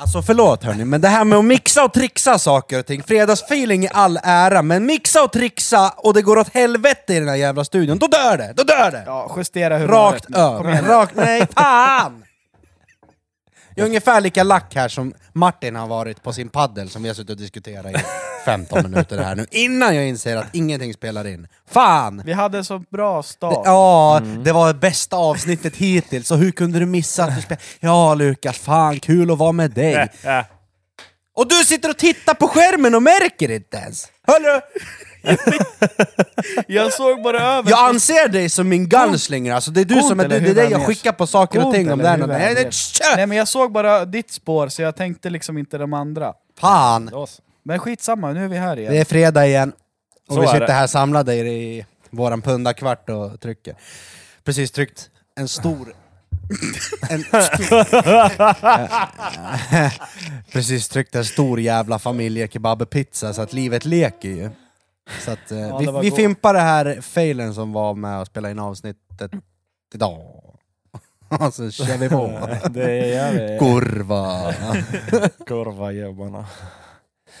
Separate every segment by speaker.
Speaker 1: Alltså förlåt hörni, men det här med att mixa och trixa saker och ting, fredagsfeeling i all ära, men mixa och trixa och det går åt helvete i den här jävla studion, då dör det! Då dör det!
Speaker 2: Ja, justera humöret
Speaker 1: Rakt
Speaker 2: nu. Kom
Speaker 1: över,
Speaker 2: igen.
Speaker 1: rakt, nej fan! Jag är ungefär lika lack här som Martin har varit på sin paddel som vi har suttit och diskuterat i 15 minuter här nu, innan jag inser att ingenting spelar in. Fan!
Speaker 2: Vi hade så bra
Speaker 1: Det,
Speaker 2: start.
Speaker 1: ja,
Speaker 2: Mm.
Speaker 1: det var det bästa avsnittet hittills, så hur kunde du missa att du spelade? Ja Lukas, fan kul att vara med dig.
Speaker 2: Ja.
Speaker 1: Och du sitter och tittar på skärmen och märker inte ens! Hörru!
Speaker 2: Jag såg bara över.
Speaker 1: Jag anser dig som min gunslinger, alltså det är du
Speaker 2: Coolt,
Speaker 1: som är, det,
Speaker 2: eller
Speaker 1: det
Speaker 2: hur
Speaker 1: är dig jag
Speaker 2: Värmers?
Speaker 1: skickar på saker och
Speaker 2: Coolt,
Speaker 1: ting om
Speaker 2: eller
Speaker 1: där
Speaker 2: hur
Speaker 1: och där. Nej,
Speaker 2: Värmers?
Speaker 1: tjö!
Speaker 2: Nej men jag såg bara ditt spår så jag tänkte liksom inte de andra.
Speaker 1: Fan!
Speaker 2: Men skitsamma, nu är vi här igen.
Speaker 1: Det är fredag igen, och
Speaker 3: Så
Speaker 1: vi
Speaker 3: är
Speaker 1: sitter
Speaker 3: det.
Speaker 1: här samlade i, i våran pundakvart och trycker. Precis tryckt en stor... en, precis tryckt en stor jävla familjekebabpizza, så att livet leker ju. Så att, eh,
Speaker 2: det
Speaker 1: vi,
Speaker 2: var
Speaker 1: vi
Speaker 2: god.
Speaker 1: fimpar det här failen som var med och spelade in avsnittet idag. Och så kör vi på.
Speaker 3: Det gör vi.
Speaker 1: Kurva!
Speaker 3: Korva jobbarna.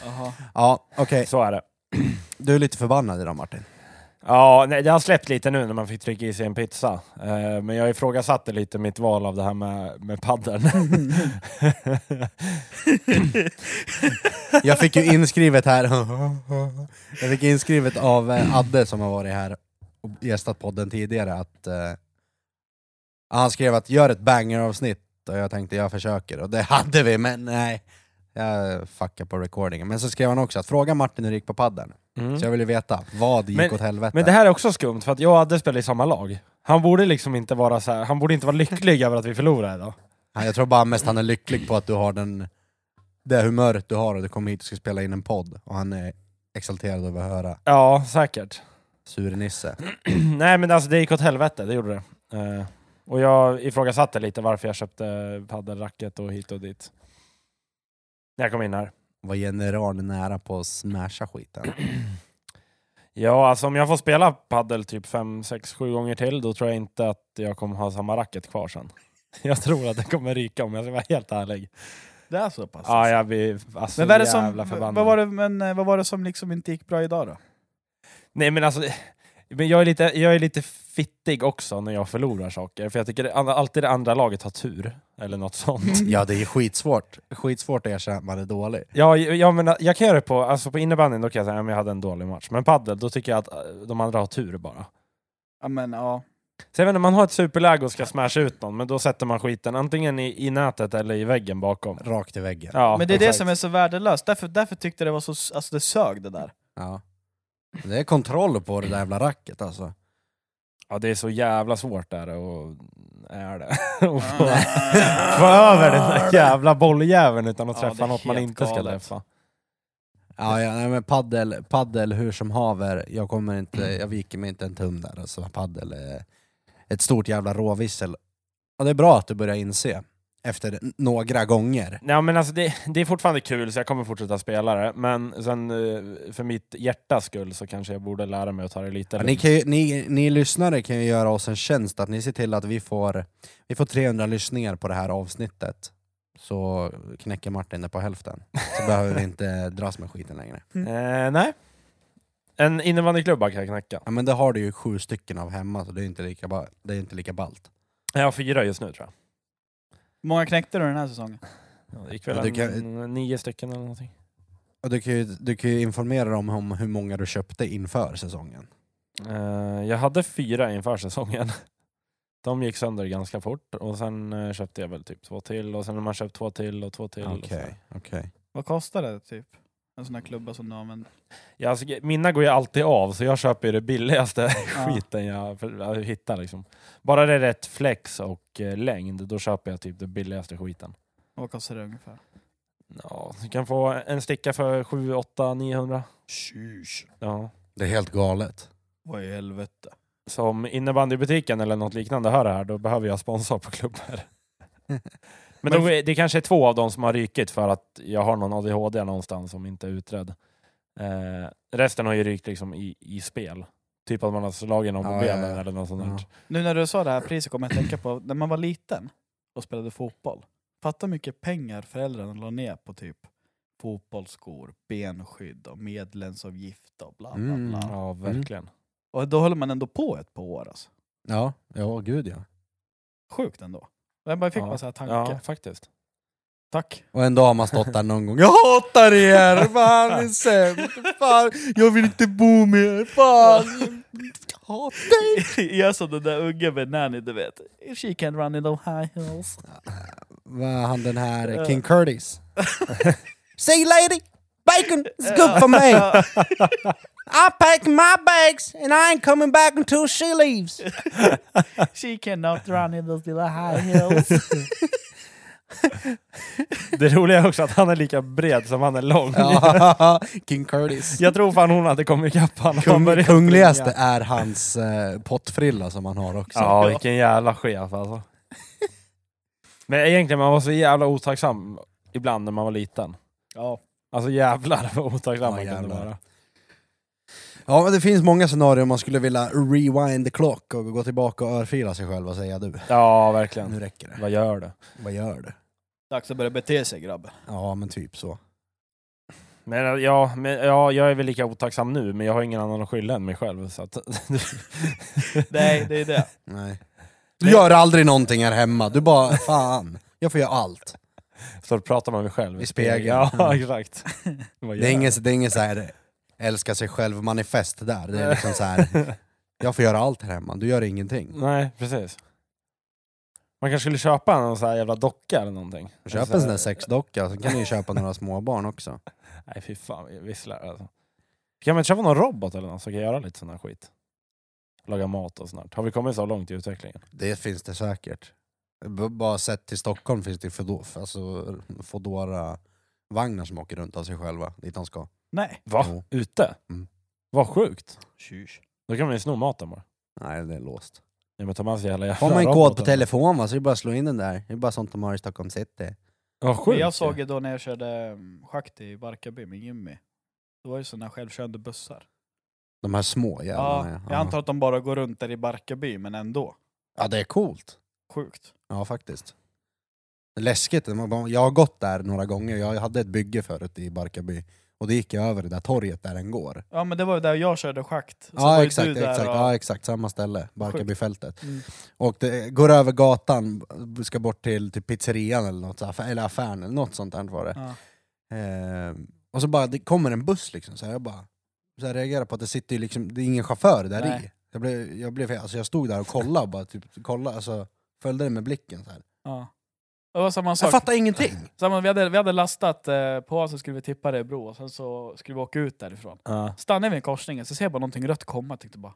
Speaker 2: Jaha.
Speaker 1: Ja, okej.
Speaker 3: Så är det.
Speaker 1: Du är lite förbannad idag Martin.
Speaker 3: Ja, nej, det har släppt lite nu när man fick trycka i sig en pizza. Eh, men jag ifrågasatte lite mitt val av det här med, med paddeln.
Speaker 1: Jag fick ju inskrivet här, jag fick inskrivet av eh, Adde som har varit här och gästat podden tidigare att eh, han skrev att gör ett banger-avsnitt och jag tänkte jag försöker och det hade vi men nej. Jag fuckade på recordingen. Men så skrev han också att fråga Martin hur det gick på padden. Så jag ville veta, vad gick
Speaker 3: Mm. Men-
Speaker 1: åt helvete?
Speaker 3: Men det här är också skumt, för att jag hade spelat i samma lag. Han borde liksom inte vara så här, han borde inte vara lycklig över att vi förlorade idag.
Speaker 1: Ja, Jag tror bara mest han är lycklig på att du har den, det humöret du har och du kommer hit och ska spela in en podd och han är exalterad över att höra
Speaker 3: Ja, säkert.
Speaker 1: sur-Nisse.
Speaker 3: nej men alltså det gick åt helvete, det gjorde det. Eh, och jag ifrågasatte lite varför jag köpte paddelracket och hit och dit. När jag kom in här.
Speaker 1: Var generalen nära på att smasha skiten?
Speaker 3: Ja, alltså om jag får spela paddel typ 5, 6, 7 gånger till, då tror jag inte att jag kommer ha samma racket kvar sen. Jag tror att det kommer ryka om jag ska vara helt ärlig.
Speaker 2: Det är så pass?
Speaker 3: Ja, jag blir alltså
Speaker 2: men vad är det som,
Speaker 3: jävla
Speaker 2: vad
Speaker 3: förbannad.
Speaker 2: vad var det, men, eh, vad var det som liksom inte gick bra idag då?
Speaker 3: Nej men alltså, men jag, är lite, jag är lite fittig också när jag förlorar saker, för jag tycker det, alltid det andra laget har tur, eller något sånt.
Speaker 1: Ja, det är skitsvårt. Skitsvårt att erkänna att man är dålig.
Speaker 3: Ja, jag, menar, jag kan göra det på, alltså på innebandyn, då kan jag säga att jag hade en dålig match, men paddel då tycker jag att eh, de andra har tur bara.
Speaker 2: Ja men ja.
Speaker 3: Så jag vet inte, man har ett superläge och ska smasha ut någon, men då sätter man skiten antingen i, i nätet eller i väggen bakom.
Speaker 1: Rakt i väggen.
Speaker 3: Ja,
Speaker 2: men det är det
Speaker 3: exakt.
Speaker 2: som är så värdelöst, därför, därför tyckte jag det var så, s- alltså det sög det där.
Speaker 1: Ja. Det är kontroll på det där jävla racket alltså.
Speaker 3: Ja, det är så jävla svårt där och är det. och få, få över den där jävla bolljäveln utan att
Speaker 2: Ja, det
Speaker 3: träffa
Speaker 2: är
Speaker 3: något man
Speaker 2: helt
Speaker 3: inte ska
Speaker 2: galet.
Speaker 3: träffa.
Speaker 1: Ja, ja nej, men paddel, paddel hur som haver, jag, kommer inte, jag viker mig inte en tum där. Alltså, paddel är ett stort jävla råvissel. Och det är bra att du börjar inse, efter n- några gånger.
Speaker 3: Nej, men alltså det, det är fortfarande kul så jag kommer fortsätta spela det, men sen eh, för mitt hjärtas skull så kanske jag borde lära mig att ta det lite
Speaker 1: Ja, ni,
Speaker 3: lugnt.
Speaker 1: kan ju, ni, ni lyssnare kan ju göra oss en tjänst att ni ser till att vi får, vi får 300 lyssningar på det här avsnittet. Så knäcker Martin det på hälften. Så behöver vi inte dras med skiten längre.
Speaker 2: Mm.
Speaker 3: Eh, nej. En innebandyklubba kan jag knacka.
Speaker 1: Ja, men det har du ju sju stycken av hemma, så det är inte lika, ba- det är inte lika ballt.
Speaker 3: Jag har fyra just nu tror jag.
Speaker 2: Hur många knäckte du den här säsongen?
Speaker 3: Ja, Det gick väl
Speaker 1: Ja, du kan-
Speaker 3: en, nio stycken eller någonting.
Speaker 1: Och du, kan ju, du kan ju informera dem om hur många du köpte inför säsongen.
Speaker 3: Eh, jag hade fyra inför säsongen. De gick sönder ganska fort och sen eh, köpte jag väl typ två till och sen har man köpt två till och två till. och så här.
Speaker 1: okej.
Speaker 2: Vad kostar det typ? En sån här klubba som du använder?
Speaker 3: Ja, alltså, ge- mina går ju alltid av så jag köper ju det billigaste
Speaker 2: Ja.
Speaker 3: skiten jag, för, jag hittar. Liksom. Bara det är rätt flex och eh, längd, då köper jag typ det billigaste skiten.
Speaker 2: Vad kostar det ungefär?
Speaker 3: Ja, du kan få en sticka för 7, 8, 900.
Speaker 2: Tjus.
Speaker 3: Ja.
Speaker 1: Det är helt galet.
Speaker 2: Vad i helvete?
Speaker 3: Så om innebandybutiken eller något liknande hör det här, då behöver jag sponsor på klubbar. Men då, är- det kanske är två av dem som har rykit för att jag har någon ADHD någonstans som inte är utredd. Eh, resten har ju rykt liksom i, i spel. Typ att man har slagit någon på
Speaker 1: Ja, ja,
Speaker 3: benen
Speaker 1: ja.
Speaker 3: eller något sånt
Speaker 1: Ja.
Speaker 3: där.
Speaker 2: Nu när du sa det här priset kommer jag att tänka på när man var liten och spelade fotboll. Fatta hur mycket pengar föräldrarna la ner på typ fotbollsskor, benskydd och medlemsavgift och bla bla
Speaker 1: Mm,
Speaker 2: bla.
Speaker 3: Ja, verkligen.
Speaker 2: Och då håller man ändå på ett par år alltså.
Speaker 1: Ja, ja gud ja.
Speaker 2: Sjukt ändå. Jag bara fick
Speaker 3: Ja.
Speaker 2: bara så här tanke.
Speaker 3: Ja, faktiskt.
Speaker 2: Tack.
Speaker 1: Och en dag har man stått där någon gång, jag hatar er! Fan, ni är sämst! Fan, jag vill inte bo med er! Fan! Jag hatar er!
Speaker 2: jag sa den där ungen med nanny du vet. If she can run in those high heels.
Speaker 1: Vad är han den här, eh, King Curtis? Say lady! Bacon is good for me! I'm packing my bags and I ain't coming back until she leaves!
Speaker 2: She cannot run in those little high heels.
Speaker 3: Det roliga är också att han är lika bred som han är lång.
Speaker 1: Ja, King Curtis.
Speaker 3: Jag tror fan hon hade kommit ikapp han. om han
Speaker 1: Kung,
Speaker 3: började
Speaker 1: kungligaste
Speaker 3: springa.
Speaker 1: är hans eh, pottfrilla som han har också.
Speaker 3: Ja, vilken jävla chef alltså. Men egentligen, man var så jävla otacksam ibland när man var liten.
Speaker 2: ja.
Speaker 3: Alltså jävlar vad otacksam
Speaker 1: Ja,
Speaker 3: man kunde
Speaker 1: jävlar.
Speaker 3: vara.
Speaker 1: Ja, men det finns många scenarion man skulle vilja rewind the clock och gå tillbaka och örfila sig själv och säga du,
Speaker 3: Ja, verkligen.
Speaker 1: nu räcker det.
Speaker 3: Vad gör du?
Speaker 1: Vad gör du?
Speaker 2: Dags att börja bete sig grabben.
Speaker 1: Ja, men typ så.
Speaker 3: Men eh, ja, men, ja, jag är väl lika otacksam nu, men jag har ingen annan att skylla än mig själv. Så att,
Speaker 2: Nej, det är det.
Speaker 1: Nej. Du gör aldrig någonting här hemma, du bara fan, jag får göra allt.
Speaker 3: så pratar man med sig själv.
Speaker 1: I spegeln.
Speaker 3: Ja, exakt. Vad
Speaker 1: Det är
Speaker 3: gör
Speaker 1: ingen, det är ingen så här älska sig själv-manifest där, det är liksom så här.
Speaker 3: jag?
Speaker 1: jag får göra allt här hemma, du gör ingenting.
Speaker 3: Nej, precis. Man kanske skulle köpa någon så här jävla docka eller någonting. Alltså,
Speaker 1: Köp en sån där sexdocka, så kan ni ju köpa några småbarn också.
Speaker 3: Nej fy fan, vi visslar alltså. Kan man inte köpa någon robot eller något som kan göra lite sån här skit? Laga mat och sånt där. Har vi kommit så långt i utvecklingen?
Speaker 1: Det finns det säkert. B- Bara sett till Stockholm finns det Foodora alltså Foodora vagnar som åker runt av sig själva dit de ska.
Speaker 2: Nej.
Speaker 3: Va?
Speaker 1: Jo.
Speaker 3: Ute?
Speaker 1: Mm.
Speaker 3: Vad sjukt.
Speaker 2: Tjus.
Speaker 3: Då kan man ju sno maten bara.
Speaker 1: Nej, det är låst.
Speaker 3: Ja, men ta med sig hela jävla
Speaker 1: Har man en kod på
Speaker 3: roboten.
Speaker 1: telefon va, så det är bara att slå in den där. Det är bara sånt de har i Stockholm city.
Speaker 3: Vad sjukt.
Speaker 2: Men jag såg
Speaker 3: ju.
Speaker 2: ju då när jag körde mm, schakt i Barkarby med Jimmy. Det var ju sådana självkörande bussar.
Speaker 1: De här små
Speaker 2: Ja,
Speaker 1: jävlarna.
Speaker 2: jag antar att de bara går runt där i Barkarby, men ändå.
Speaker 1: ja, det är coolt.
Speaker 2: Sjukt.
Speaker 1: Ja, faktiskt. Det är Läskigt. Man bara- Jag har gått där några gånger. Jag hade ett bygge förut i Barkarby. Och det gick jag över det där torget där den går.
Speaker 2: Ja men det var ju där jag körde schakt. Så var
Speaker 1: Ja
Speaker 2: ju
Speaker 1: exakt,
Speaker 2: du där
Speaker 1: exakt,
Speaker 2: och-
Speaker 1: ja exakt, samma ställe, Barkarbyfältet.
Speaker 2: Mm.
Speaker 1: Och det går över gatan, ska bort till, till pizzerian eller något, så här, eller affären eller något sånt där var det.
Speaker 2: Ja.
Speaker 1: Ehm, och så bara, det kommer en buss liksom, så här, jag bara så här, reagerar på att det sitter ju liksom, det är ingen chaufför där
Speaker 2: Nej.
Speaker 1: i. Jag, blev, jag, blev, alltså, jag stod där och kollade, och bara, typ, kollade alltså, följde det med blicken. Så här.
Speaker 2: Ja. Det var samma
Speaker 1: Jag
Speaker 2: sak.
Speaker 1: fattar ingenting!
Speaker 2: Samma, vi, hade, vi hade lastat eh, på så skulle vi tippa det i bro och sen så skulle vi åka ut därifrån.
Speaker 3: Ja.
Speaker 2: Stannade vi i korsningen så ser jag bara någonting rött komma och tänkte bara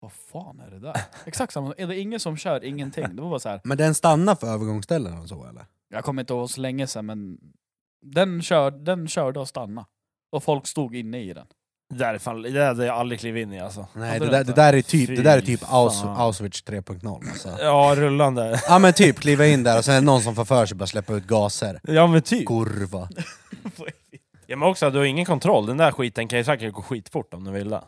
Speaker 2: Vad fan är det där? Exakt samma, är det ingen som kör ingenting? Det var bara så här.
Speaker 1: Men den stannar för övergångsställen och så eller?
Speaker 2: jag kommer inte ihåg så länge sedan men den, kör, den körde och stannade. Och folk stod inne i den.
Speaker 3: Det där är fan, det där hade jag aldrig klivit in i alltså.
Speaker 1: Nej,
Speaker 2: det
Speaker 1: det där,
Speaker 2: inte.
Speaker 1: det där är typ, det där är typ
Speaker 3: Fy
Speaker 1: Aus,
Speaker 3: fan.
Speaker 1: Auschwitz 3.0 alltså.
Speaker 3: Ja, rullande.
Speaker 1: Ja men typ, kliva in där och sen är det någon som förför sig och börjar släppa ut gaser.
Speaker 3: Ja men typ.
Speaker 1: Kurva.
Speaker 3: Ja, men också, du har ingen kontroll. Den där skiten kan ju säkert gå skitfort om du vill det.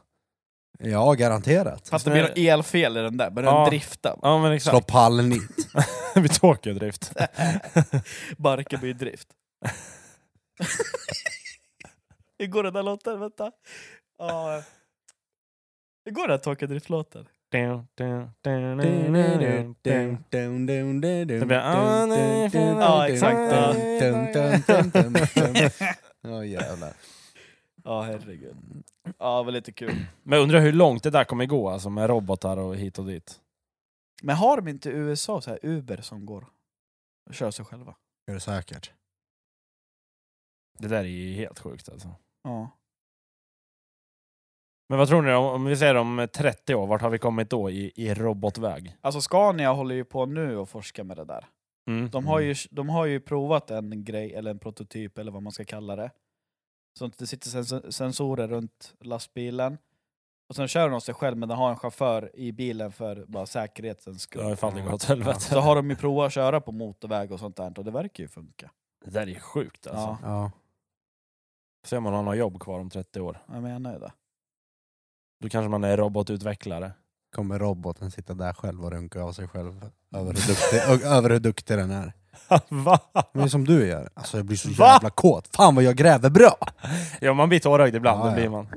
Speaker 1: Ja, garanterat.
Speaker 2: Fast Alltså, det blir något elfel i den där, börjar
Speaker 3: Ja.
Speaker 2: den drifta.
Speaker 3: Ja men
Speaker 1: Slå
Speaker 3: exakt.
Speaker 1: pallnit.
Speaker 3: Vi tåkar ju drift.
Speaker 2: Barkarby drift. Hur går den där låten? Vänta. Ja. Hur går den här Tåka drift-låten? Ja, exakt.
Speaker 1: Ja jävlar.
Speaker 2: Ja, herregud. Ja, det var lite kul.
Speaker 3: Men undrar hur långt det där kommer gå, alltså med robotar och hit och dit.
Speaker 2: Men har de inte i USA så här Uber som går och kör sig själva?
Speaker 1: Är det säkert?
Speaker 3: Det där är ju helt sjukt alltså.
Speaker 2: Ja.
Speaker 3: Men vad tror ni, om, om vi säger om 30 år, vart har vi kommit då i, i robotväg?
Speaker 2: Alltså Scania håller ju på nu och forskar med det där. De har,
Speaker 3: Mm.
Speaker 2: ju, de har ju provat en grej, eller en prototyp, eller vad man ska kalla det. Så att det sitter sens- sensorer runt lastbilen. Och sen kör de sig själv, men den har en chaufför i bilen för bara säkerhetens
Speaker 3: Det har ju
Speaker 2: skull.
Speaker 3: fan gått åt helvete.
Speaker 2: Så har de ju provat att köra på motorväg och sånt där, och det verkar ju funka.
Speaker 3: Det där är ju sjukt alltså.
Speaker 2: Ja,
Speaker 1: Ja.
Speaker 3: Se om man har något jobb kvar om 30 år.
Speaker 2: jag menar ju det.
Speaker 3: Då kanske man är robotutvecklare.
Speaker 1: Kommer roboten sitta där själv och runka av sig själv över hur duktig, och, över hur duktig den är.
Speaker 3: Va?
Speaker 1: Men som du gör. Alltså jag blir så
Speaker 3: Va?
Speaker 1: jävla kåt. Fan vad jag gräver bra!
Speaker 3: Ja, man blir tårögd ibland,
Speaker 1: Ja,
Speaker 3: det
Speaker 1: ja.
Speaker 3: blir man.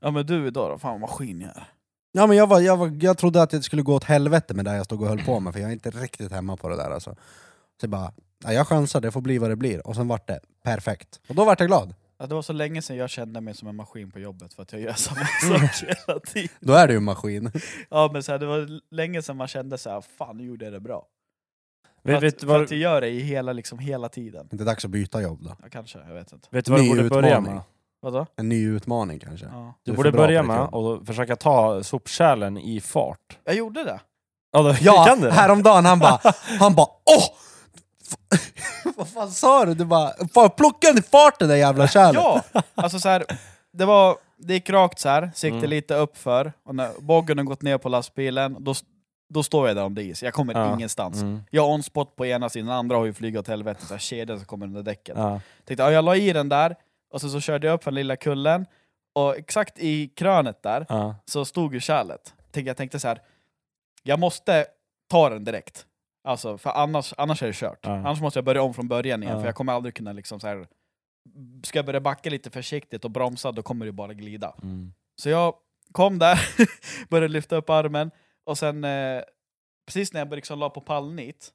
Speaker 2: Ja men du idag då, fan vad maskin jag är.
Speaker 1: Ja, men jag, var, jag, var, jag trodde att det skulle gå åt helvete med det jag stod och höll på med, för jag är inte riktigt hemma på det där alltså. Så jag bara, ja, jag chansar, det får bli vad det blir. Och sen vart det perfekt. Och då vart jag glad.
Speaker 2: Ja, det var så länge sedan jag kände mig som en maskin på jobbet för att jag gör samma
Speaker 3: Mm.
Speaker 2: sak hela tiden.
Speaker 1: Då är det ju en maskin.
Speaker 2: Ja men så här, det var länge sedan man kände så här, fan nu gjorde jag det bra. För
Speaker 3: Vet,
Speaker 2: att,
Speaker 3: vet,
Speaker 2: för
Speaker 3: du vad,
Speaker 2: att jag gör det i hela, liksom, hela tiden.
Speaker 1: Det är dags att byta jobb då.
Speaker 2: Ja, kanske, jag vet inte.
Speaker 3: vet du vad du
Speaker 1: Ny
Speaker 3: borde börja
Speaker 1: utmaning.
Speaker 3: med?
Speaker 2: Vadå?
Speaker 1: En ny utmaning kanske.
Speaker 2: Ja.
Speaker 3: Du
Speaker 1: Du är
Speaker 3: borde
Speaker 1: för bra på
Speaker 3: börja
Speaker 1: det,
Speaker 3: med att försöka ta sopkärlen i fart.
Speaker 2: Jag gjorde det!
Speaker 3: Ja, då,
Speaker 1: Ja,
Speaker 3: kan du det?
Speaker 1: häromdagen han bara, han bara åh! Vad fan sa du? Du bara, fan plocka den i farten det jävla kärlet!
Speaker 2: Ja! Alltså så här, det, var, det gick rakt så här, sikte
Speaker 3: Mm.
Speaker 2: lite uppför, och när boggen har gått ner på lastbilen, då, då står jag där om det är is. Jag kommer
Speaker 3: Ja.
Speaker 2: ingenstans.
Speaker 3: Mm.
Speaker 2: Jag har on-spot på ena sidan, den andra har ju flugit åt helvete, så här, kedjan som kommer under däcket.
Speaker 3: Ja.
Speaker 2: Tänkte, ja, jag la i den där, och sen så körde jag upp för den lilla kullen, och exakt i krönet där
Speaker 3: Ja.
Speaker 2: så stod ju kärlet. Tänkte, jag tänkte så här. jag måste ta den direkt. Alltså, för annars, annars är det kört.
Speaker 3: Ja.
Speaker 2: Annars måste jag börja om från början igen,
Speaker 3: Ja.
Speaker 2: för jag kommer aldrig kunna liksom så här. Ska jag börja backa lite försiktigt och bromsa, då kommer det bara glida.
Speaker 3: Mm.
Speaker 2: Så jag kom där, började lyfta upp armen, och sen eh, precis när jag liksom la på pallnit,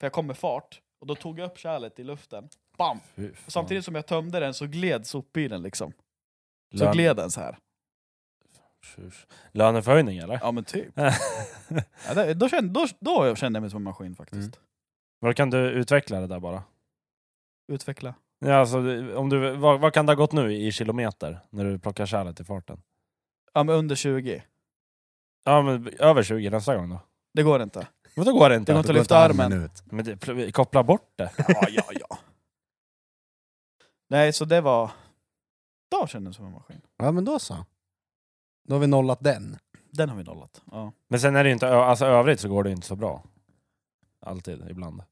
Speaker 2: för jag kom med fart, och då tog jag upp kärlet i luften, bam!
Speaker 3: Fy
Speaker 2: Och
Speaker 3: fan.
Speaker 2: samtidigt som jag tömde den så gled sopbilen liksom. Så
Speaker 3: Lön-
Speaker 2: gled den så här.
Speaker 3: Tjus. Löneförhöjning eller?
Speaker 2: Ja men typ. Ja, det, då, kände, då, då kände jag mig som en maskin
Speaker 1: Mm.
Speaker 2: faktiskt.
Speaker 3: vad kan du utveckla det där bara?
Speaker 2: Utveckla.
Speaker 3: Ja, alltså, om du, vad, vad kan det ha gått nu i kilometer när du plockar kärlet i farten?
Speaker 2: Ja men under 20.
Speaker 3: Ja, men över 20 nästa gång då.
Speaker 2: Det går inte.
Speaker 3: Men då går det
Speaker 1: Det
Speaker 3: inte.
Speaker 1: går
Speaker 2: inte att lyfta
Speaker 1: armen
Speaker 2: armen.
Speaker 1: ut.
Speaker 3: Men det, pl- koppla bort det.
Speaker 2: Ja, ja, ja. Nej, så det var... Då kände jag mig som en maskin.
Speaker 1: Ja men då så. Då har vi nollat den.
Speaker 2: Den har vi nollat. Ja.
Speaker 3: Men sen är det ju inte, ö- alltså övrigt så går det ju inte så bra. Alltid, ibland.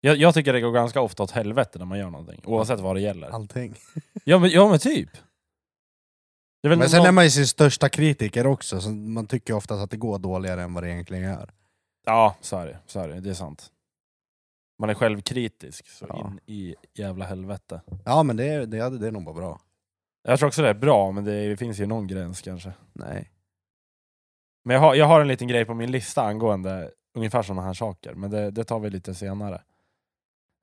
Speaker 3: Jag, jag tycker det går ganska ofta åt helvete när man gör någonting, oavsett vad det gäller.
Speaker 1: Allting.
Speaker 3: Ja men, ja, men typ. Det är väl
Speaker 1: Men sen
Speaker 3: någon-
Speaker 1: är man ju sin största kritiker också, så man tycker ju oftast att det går dåligare än vad det egentligen gör.
Speaker 3: Ja, så är det. Så är det. det är sant. Man är självkritisk så
Speaker 1: Ja.
Speaker 3: in i jävla helvete.
Speaker 1: Ja men det, är- det, det är nog bara bra.
Speaker 3: Jag tror också det är bra, men det, det finns ju någon gräns kanske.
Speaker 1: Nej.
Speaker 3: Men jag har, jag har en liten grej på min lista angående ungefär sådana här saker, men det, det tar vi lite senare.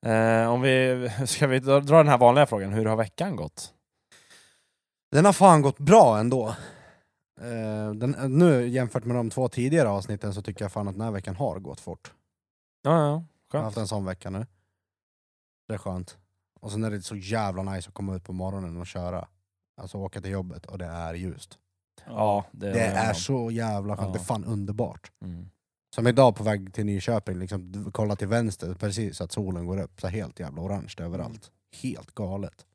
Speaker 3: Eh, om vi, ska vi dra dra den här vanliga frågan, hur har veckan gått?
Speaker 1: Den har fan gått bra ändå. Eh, Den, nu jämfört med de två tidigare avsnitten så tycker jag fan att den här veckan har gått fort.
Speaker 3: Ja, ja,
Speaker 1: Jag har
Speaker 3: skönt.
Speaker 1: haft en sån vecka nu. Det är skönt. Och sen är det så jävla nice att komma ut på morgonen och köra. Alltså åka till jobbet och det är ljust.
Speaker 3: Ja, det,
Speaker 1: Det
Speaker 3: håller jag med
Speaker 1: är
Speaker 3: om.
Speaker 1: så jävla skönt,
Speaker 3: Ja.
Speaker 1: det är fan underbart.
Speaker 3: Mm.
Speaker 1: Som idag på väg till Nyköping, liksom, du- kolla till vänster precis att solen går upp. Så helt jävla orange överallt.
Speaker 2: Mm.
Speaker 1: Helt galet.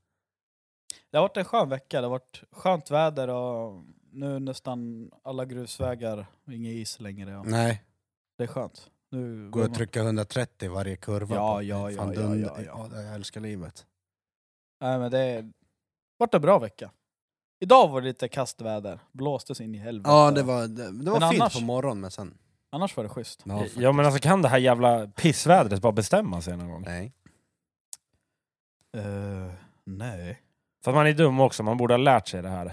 Speaker 2: Det har varit en skön vecka. Det har varit skönt väder och nu är nästan alla grusvägar, ingen is längre. Och
Speaker 1: Nej.
Speaker 2: det är skönt. Nu
Speaker 1: Går att trycka 130 varje kurva.
Speaker 2: Ja,
Speaker 1: på-
Speaker 2: ja, ja,
Speaker 1: fan,
Speaker 2: ja,
Speaker 1: dund-
Speaker 2: ja, ja.
Speaker 1: Jag älskar livet.
Speaker 2: Nej, men det har varit en bra vecka. Idag var det lite kastväder. Blåste sig in i helvete.
Speaker 1: Ja, det var, det, det var
Speaker 2: Men
Speaker 1: fint
Speaker 2: annars-
Speaker 1: på morgonen men sen...
Speaker 2: Annars var det schysst.
Speaker 1: Ja, faktiskt.
Speaker 3: Ja men alltså kan det här jävla pissvädret bara bestämma sig någon gång?
Speaker 1: Nej.
Speaker 2: Eh, nej.
Speaker 3: För att man är dum också, man borde ha lärt sig det här.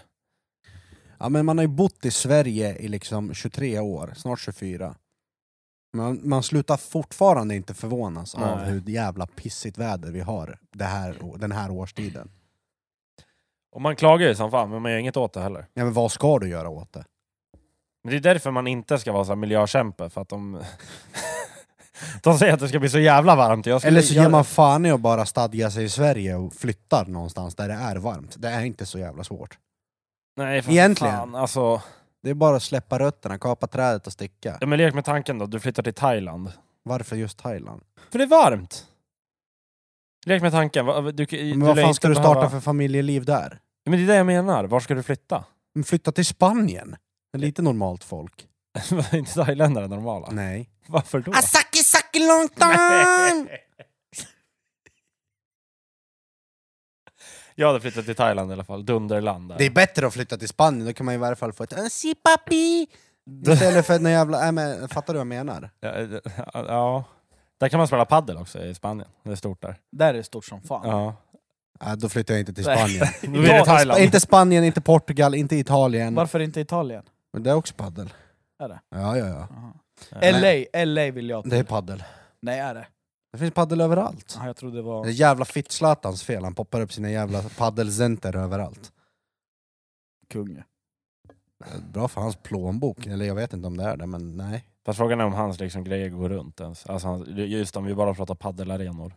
Speaker 1: Ja, men man har ju bott i Sverige i liksom 23 år, snart 24. Man, man slutar fortfarande inte förvånas av
Speaker 3: Nej.
Speaker 1: hur jävla pissigt väder vi har det här, den här årstiden.
Speaker 3: Och man klagar ju som fan, men man gör inget åt det heller.
Speaker 1: Ja, men vad ska du göra åt det?
Speaker 3: Men det är därför man inte ska vara så här miljökämpe, för att de... de säger att det ska bli så jävla varmt. Jag skulle-
Speaker 1: Eller så ger
Speaker 3: jag-
Speaker 1: man fan i att bara stadga sig i Sverige och flyttar någonstans där det är varmt. Det är inte så jävla svårt.
Speaker 3: Nej, för
Speaker 1: Egentligen.
Speaker 3: Fan, alltså...
Speaker 1: Det är bara att släppa rötterna, kapa trädet och sticka.
Speaker 3: Ja men lek med tanken då, du flyttar till Thailand.
Speaker 1: Varför just Thailand?
Speaker 3: För det är varmt! Lek med tanken, va- du, du,
Speaker 1: Men vad
Speaker 3: lär
Speaker 1: fan
Speaker 3: inte
Speaker 1: ska du starta
Speaker 3: behöva-
Speaker 1: för familjeliv där?
Speaker 3: Men det är det jag menar, var ska du flytta?
Speaker 1: Men Mm, flytta till Spanien? Det är lite normalt folk.
Speaker 3: Är inte thailändare normala?
Speaker 1: Nej.
Speaker 3: Varför då?
Speaker 1: Asaki saki long time!
Speaker 3: Jag hade flyttat till Thailand i alla fall, dunderland där.
Speaker 1: Det är bättre att flytta till Spanien, då kan man i varje fall få ett "Ah, si papi istället för någon jävla... Nej, men, fattar du vad jag menar?
Speaker 3: Ja, eh, ja. Där kan man spela paddel också i Spanien, det är stort där.
Speaker 2: Där är det stort som fan.
Speaker 3: Ja.
Speaker 1: Ja, Äh, då flyttar jag inte till
Speaker 2: Nej.
Speaker 1: Spanien.
Speaker 3: Då blir det Thailand.
Speaker 1: inte Spanien, inte Portugal, inte Italien.
Speaker 2: Varför inte Italien?
Speaker 1: Men det är också paddel.
Speaker 2: Är det?
Speaker 1: Ja, ja, ja.
Speaker 2: Aha.
Speaker 3: Ja.
Speaker 2: LA, LA vill jag
Speaker 1: Det är paddel.
Speaker 2: Nej är det?
Speaker 1: Det finns paddel överallt.
Speaker 2: Aha, jag trodde det
Speaker 1: Det är
Speaker 2: var...
Speaker 1: jävla fitt-Zlatans fel, han poppar upp sina jävla paddelcenter överallt. Äh,
Speaker 2: Kung.
Speaker 1: Bra för hans plånbok, eller jag vet inte om det är det, men nej.
Speaker 3: Fast frågan är om hans liksom, grejer går runt ens. Alltså, hans- just om vi bara pratar paddelarenor.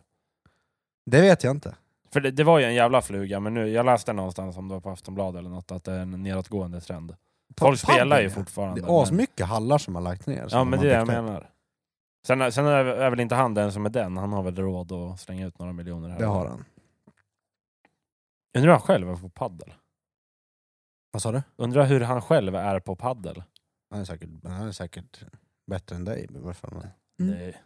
Speaker 1: Det vet jag inte.
Speaker 3: För det, det var ju en jävla fluga, men nu, jag läste någonstans, om det var på Aftonbladet eller något, att det är en nedåtgående trend. Folk spelar ju
Speaker 1: Padel, ja.
Speaker 3: fortfarande.
Speaker 1: Det
Speaker 3: men-
Speaker 1: är asmycket hallar som har lagt ner. som
Speaker 3: Ja
Speaker 1: de
Speaker 3: men
Speaker 1: har
Speaker 3: det är jag
Speaker 1: byggt upp.
Speaker 3: menar. Sen, sen är, är väl inte han den som är den, han har väl råd att slänga ut några miljoner här.
Speaker 1: Det har han.
Speaker 3: Undrar hur han själv är på paddel.
Speaker 1: Vad sa du?
Speaker 3: Undrar hur han själv är på paddel.
Speaker 1: Han är säkert, han är säkert bättre än dig. men Varför man...
Speaker 2: Mm.
Speaker 3: Nej.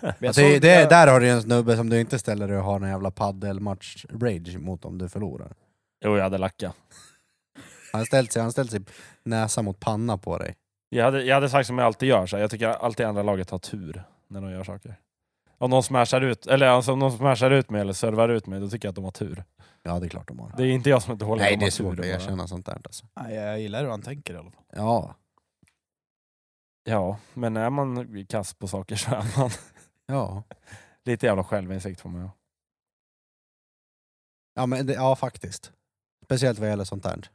Speaker 2: Jag
Speaker 1: det,
Speaker 2: såg-
Speaker 1: det,
Speaker 2: jag-
Speaker 1: Där har du en snubbe som du inte ställer dig och har en jävla paddelmatch-rage mot om du förlorar.
Speaker 3: Jo jag hade lacka.
Speaker 1: Han har ställt sig, han har ställt sig näsa mot panna på dig.
Speaker 3: Jag hade, jag hade sagt som jag alltid gör, så här, jag tycker alltid andra laget har tur när de gör saker. Om någon smashar ut, eller alltså, om någon smashar ut mig eller servar ut mig, då tycker jag att de har tur.
Speaker 1: Ja det är klart de har.
Speaker 3: Det är inte jag som är dålig,
Speaker 1: Nej
Speaker 3: de
Speaker 1: det
Speaker 3: har
Speaker 1: är
Speaker 3: tur
Speaker 1: svårt att
Speaker 3: bara.
Speaker 1: erkänna sånt där alltså.
Speaker 2: Nej, jag gillar hur han tänker i alla fall.
Speaker 1: Ja,
Speaker 3: Ja, men är man kass på saker så är man
Speaker 1: ja.
Speaker 3: lite jävla självinsikt får man ju ha.
Speaker 1: Ja, men det, ja faktiskt. Speciellt vad gäller sånt där.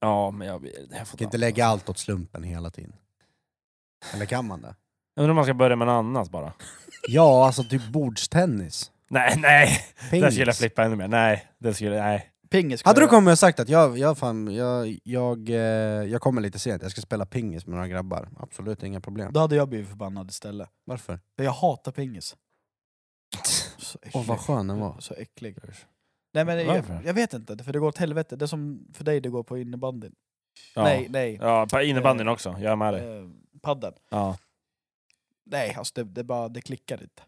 Speaker 3: Ja, men jag, jag får
Speaker 1: Man kan inte lägga allt åt slumpen hela tiden. Eller kan man det?
Speaker 3: Jag undrar om man ska börja med något annat bara.
Speaker 1: Ja, alltså typ bordstennis.
Speaker 3: Nej, nej! Där skulle jag
Speaker 1: Pingis.
Speaker 3: flippa ännu mer. Nej, det skulle, nej.
Speaker 2: Pingis ska
Speaker 1: Hade du
Speaker 2: jag-
Speaker 1: kommit och sagt att jag, jag, fan, jag, jag, eh, jag kommer lite sent, jag ska spela pingis med några grabbar. Absolut inga problem.
Speaker 2: Då hade jag blivit förbannad istället.
Speaker 1: Varför?
Speaker 2: För jag hatar pingis. Så äcklig.
Speaker 1: Åh vad skön den var.
Speaker 2: Så äcklig. Nej men
Speaker 3: Varför?
Speaker 2: jag, jag vet inte, för det går åt helvete. Det är som för dig det går på innebandyn.
Speaker 3: Ja.
Speaker 2: Nej, nej.
Speaker 3: Ja, på innebandyn också. Jag är med dig.
Speaker 2: Eh, padden.
Speaker 3: Ja.
Speaker 2: Nej, alltså det, det, bara, det klickar inte.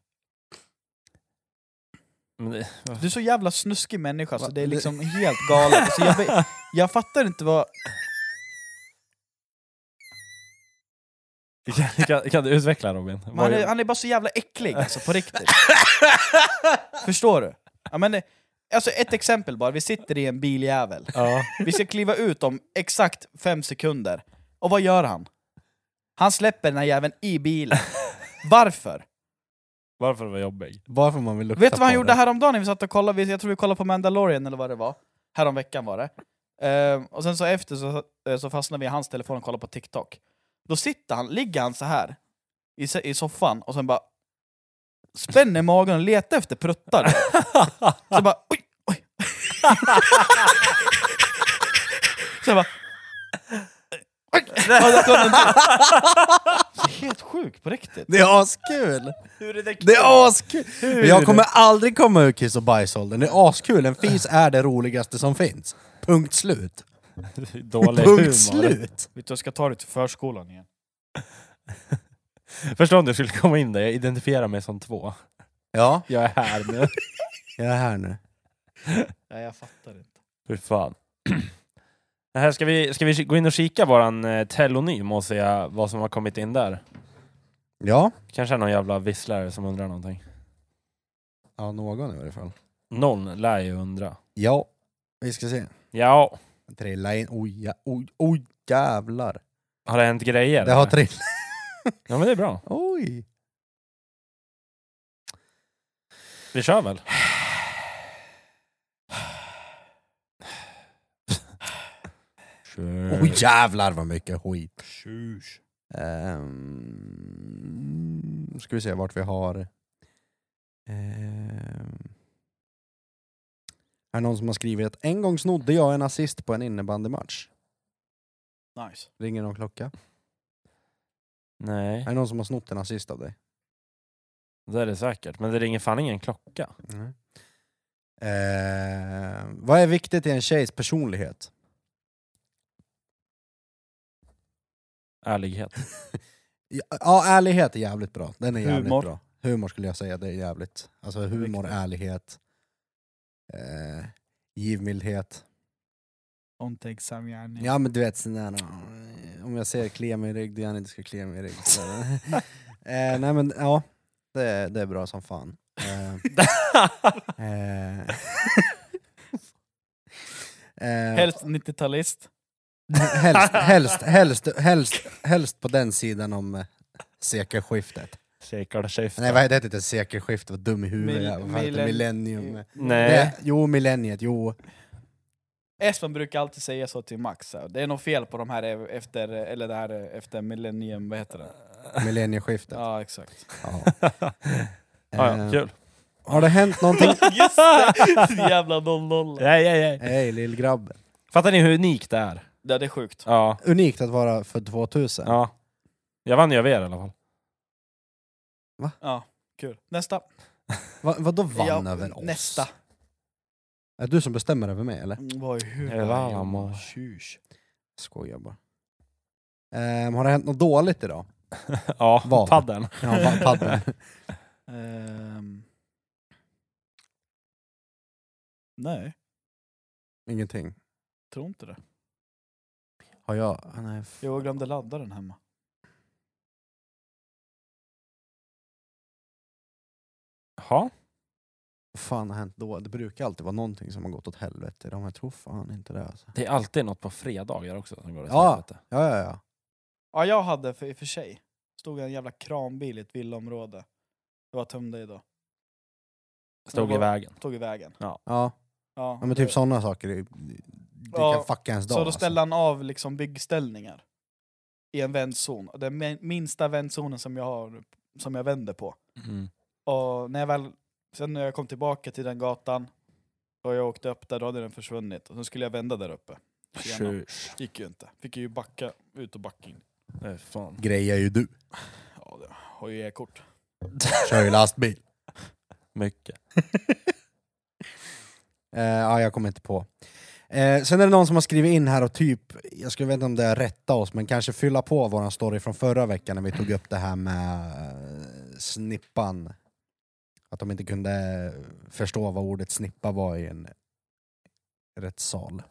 Speaker 3: Men det,
Speaker 2: Du är så jävla snuskig människa så
Speaker 1: Va?
Speaker 2: det är liksom helt galet. Alltså, jag, vet- jag fattar inte vad...
Speaker 3: kan, kan, kan du utveckla Robin?
Speaker 2: Men
Speaker 3: Vad-
Speaker 2: han, är, han är bara så jävla äcklig alltså, på riktigt. Förstår du? Ja, men, eh, alltså, ett exempel bara, vi sitter i en biljävel.
Speaker 3: Ja.
Speaker 2: Vi ska kliva ut om exakt fem sekunder. Och vad gör han? Han släpper den här jäveln i bilen. Varför?
Speaker 3: Varför var jag jobbig?
Speaker 1: Varför man vill lukta
Speaker 2: Vet du vad han
Speaker 1: på
Speaker 2: gjorde
Speaker 1: det.
Speaker 2: häromdagen när vi satt och kollade? Vi- Jag tror vi kollade på Mandalorian eller vad det var. Häromveckan var det. Ehm, och sen så efter så, eh, så fastnade vi i hans telefon och kollade på TikTok. Då sitter han, ligger han så här i, se- i soffan och sen bara spänner magen och letar efter pruttar. så bara oj, oj. så jag bara oj. Och då kom den till. Så Helt sjuk på riktigt.
Speaker 1: Det är askul!
Speaker 2: Hur är
Speaker 1: Det är askul! Men jag kommer aldrig komma ur kiss och bajsåldern, det är askul. En fis är det roligaste som finns. Punkt slut.
Speaker 3: Dålig humor.
Speaker 1: Punkt slut!
Speaker 2: Vet du, jag ska ta dig till förskolan igen.
Speaker 3: Förstår om du skulle komma in där, jag identifierar mig som två.
Speaker 1: Ja,
Speaker 3: Jag är här nu.
Speaker 1: jag är här nu.
Speaker 2: Nej, jag fattar inte.
Speaker 3: Hur fan. Det här, ska, vi, ska vi gå in och kika våran eh, telonym och se vad som har kommit in där?
Speaker 1: Ja.
Speaker 3: Kanske är någon jävla visslare som undrar någonting.
Speaker 1: Ja, någon i varje fall.
Speaker 3: Någon lär ju undra.
Speaker 1: Ja, vi ska se.
Speaker 3: Ja,
Speaker 1: Trilla in, oj, ja, oj, oj jävlar.
Speaker 3: har det hänt grejer?
Speaker 1: Det har
Speaker 3: eller?
Speaker 1: trillat,
Speaker 3: Ja men det är bra.
Speaker 1: oj.
Speaker 3: Vi kör väl? Kör.
Speaker 1: Oj jävlar vad mycket skit. Ehm, nu ska vi se vart vi har... Ehm, här är någon som har skrivit att en gång snodde jag en assist på en innebandymatch.
Speaker 2: Nice.
Speaker 1: Ringer någon klocka?
Speaker 3: Nej,
Speaker 1: Här är någon som har snott en assist av dig.
Speaker 3: det är det säkert. Men det ringer fan ingen klocka.
Speaker 1: Ehm, vad är viktigt i en tjejs personlighet?
Speaker 3: Ärlighet.
Speaker 1: Ja, ärlighet är jävligt bra. Den är jävligt
Speaker 2: Humor.
Speaker 1: bra. Humor skulle jag säga, det är jävligt. Alltså humor,
Speaker 2: Viktigt.
Speaker 1: ärlighet. eh, givmildhet.
Speaker 2: Omtänksam gärning.
Speaker 1: Ja men du vet sån där, eh, om jag säger klia mig i rygg, det gör han inte ska klia mig i rygg. Så. eh, nej men ja, det, det är bra som fan. Eh, eh, eh,
Speaker 2: Helst 90-talist.
Speaker 1: helst, helst, helst, helst, helst på den sidan om eh, sekelskiftet.
Speaker 3: Sekelskifte.
Speaker 1: Nej vad heter det? inte sekelskiftet, vad dum i huvudet jag är. Vad fan heter det?
Speaker 2: Millen-
Speaker 1: Millennium.
Speaker 3: Nej.
Speaker 1: Nej, jo, millenniet, jo.
Speaker 2: Espen brukar alltid säga så till Max. så här, Det är något fel på de här e- efter, eller det här e- efter millennium, vad heter det?
Speaker 1: Millennieskiftet.
Speaker 2: Ja, exakt.
Speaker 1: Ja.
Speaker 3: Ah, Ja,
Speaker 1: Eh,
Speaker 3: ja, kul.
Speaker 1: Har det hänt någonting?
Speaker 2: Just det! Jävla 00.
Speaker 3: Ja, ja, ja.
Speaker 1: Hej lillgrabben.
Speaker 3: Fattar ni hur unikt det är?
Speaker 2: Ja, det är sjukt.
Speaker 3: Ja.
Speaker 1: Unikt att vara född 2000.
Speaker 3: ja. Jag vann ju av er i alla fall.
Speaker 2: Ja, kul. Nästa.
Speaker 1: Va, vadå vann
Speaker 2: ja,
Speaker 1: över oss?
Speaker 2: Nästa.
Speaker 1: Är det du som bestämmer över mig eller?
Speaker 2: Mm, Vad i huvudet?
Speaker 3: Jävlar, mamma.
Speaker 2: Tjus.
Speaker 1: Skojar bara. Ehm, har det hänt något dåligt idag?
Speaker 3: Ja,
Speaker 1: Vad?
Speaker 3: padden.
Speaker 1: Ja, va- padden.
Speaker 2: Ehm. Nej,
Speaker 1: Ingenting.
Speaker 2: tror inte det.
Speaker 1: Har jag? Ah, Nej, f-
Speaker 2: Jo, Jag glömde ladda den hemma.
Speaker 3: Ja.
Speaker 1: vad fan har hänt då? Det brukar alltid vara någonting som har gått åt helvete. De jag tror fan inte det alltså.
Speaker 3: Det är alltid något på fredagar också som går åt
Speaker 1: Ja.
Speaker 3: helvete.
Speaker 1: Ja, ja, ja.
Speaker 2: Ja, jag hade för, i och för sig. Stod en jävla kranbil i ett villaområde. Jag var tömde idag.
Speaker 3: Stod i
Speaker 2: Det var-
Speaker 3: vägen.
Speaker 2: Tog i vägen.
Speaker 1: Ja,
Speaker 2: Ja,
Speaker 1: ja men
Speaker 2: det-
Speaker 1: typ alltså. sådana saker. Det, det
Speaker 2: Eh, Ja,
Speaker 1: kan fucka ens dag.
Speaker 2: Så då ställde han av liksom byggställningar i en vändzon. Och Den min- minsta vändzonen som jag, har, som jag vänder på.
Speaker 3: Mm.
Speaker 2: Och när jag väl, sen när jag kom tillbaka till den gatan och jag åkte upp där, då hade den försvunnit. Och sen skulle jag vända där uppe. Tjena.
Speaker 3: Tjus.
Speaker 2: Gick ju inte. Fick ju backa ut och backa in.
Speaker 3: Det är fan.
Speaker 1: alltså. Grejer ju du.
Speaker 2: Ja, det har ju e-kort.
Speaker 1: Kör ju lastbil.
Speaker 3: Mycket.
Speaker 1: Eh, ja, jag kommer inte på. Eh, sen är det någon som har skrivit in här och typ, jag skulle veta om det är rätta oss, men kanske fylla på våran story från förra veckan när vi tog upp det här med eh, snippan. Att de inte kunde eh, förstå vad ordet snippa var i en rättssal.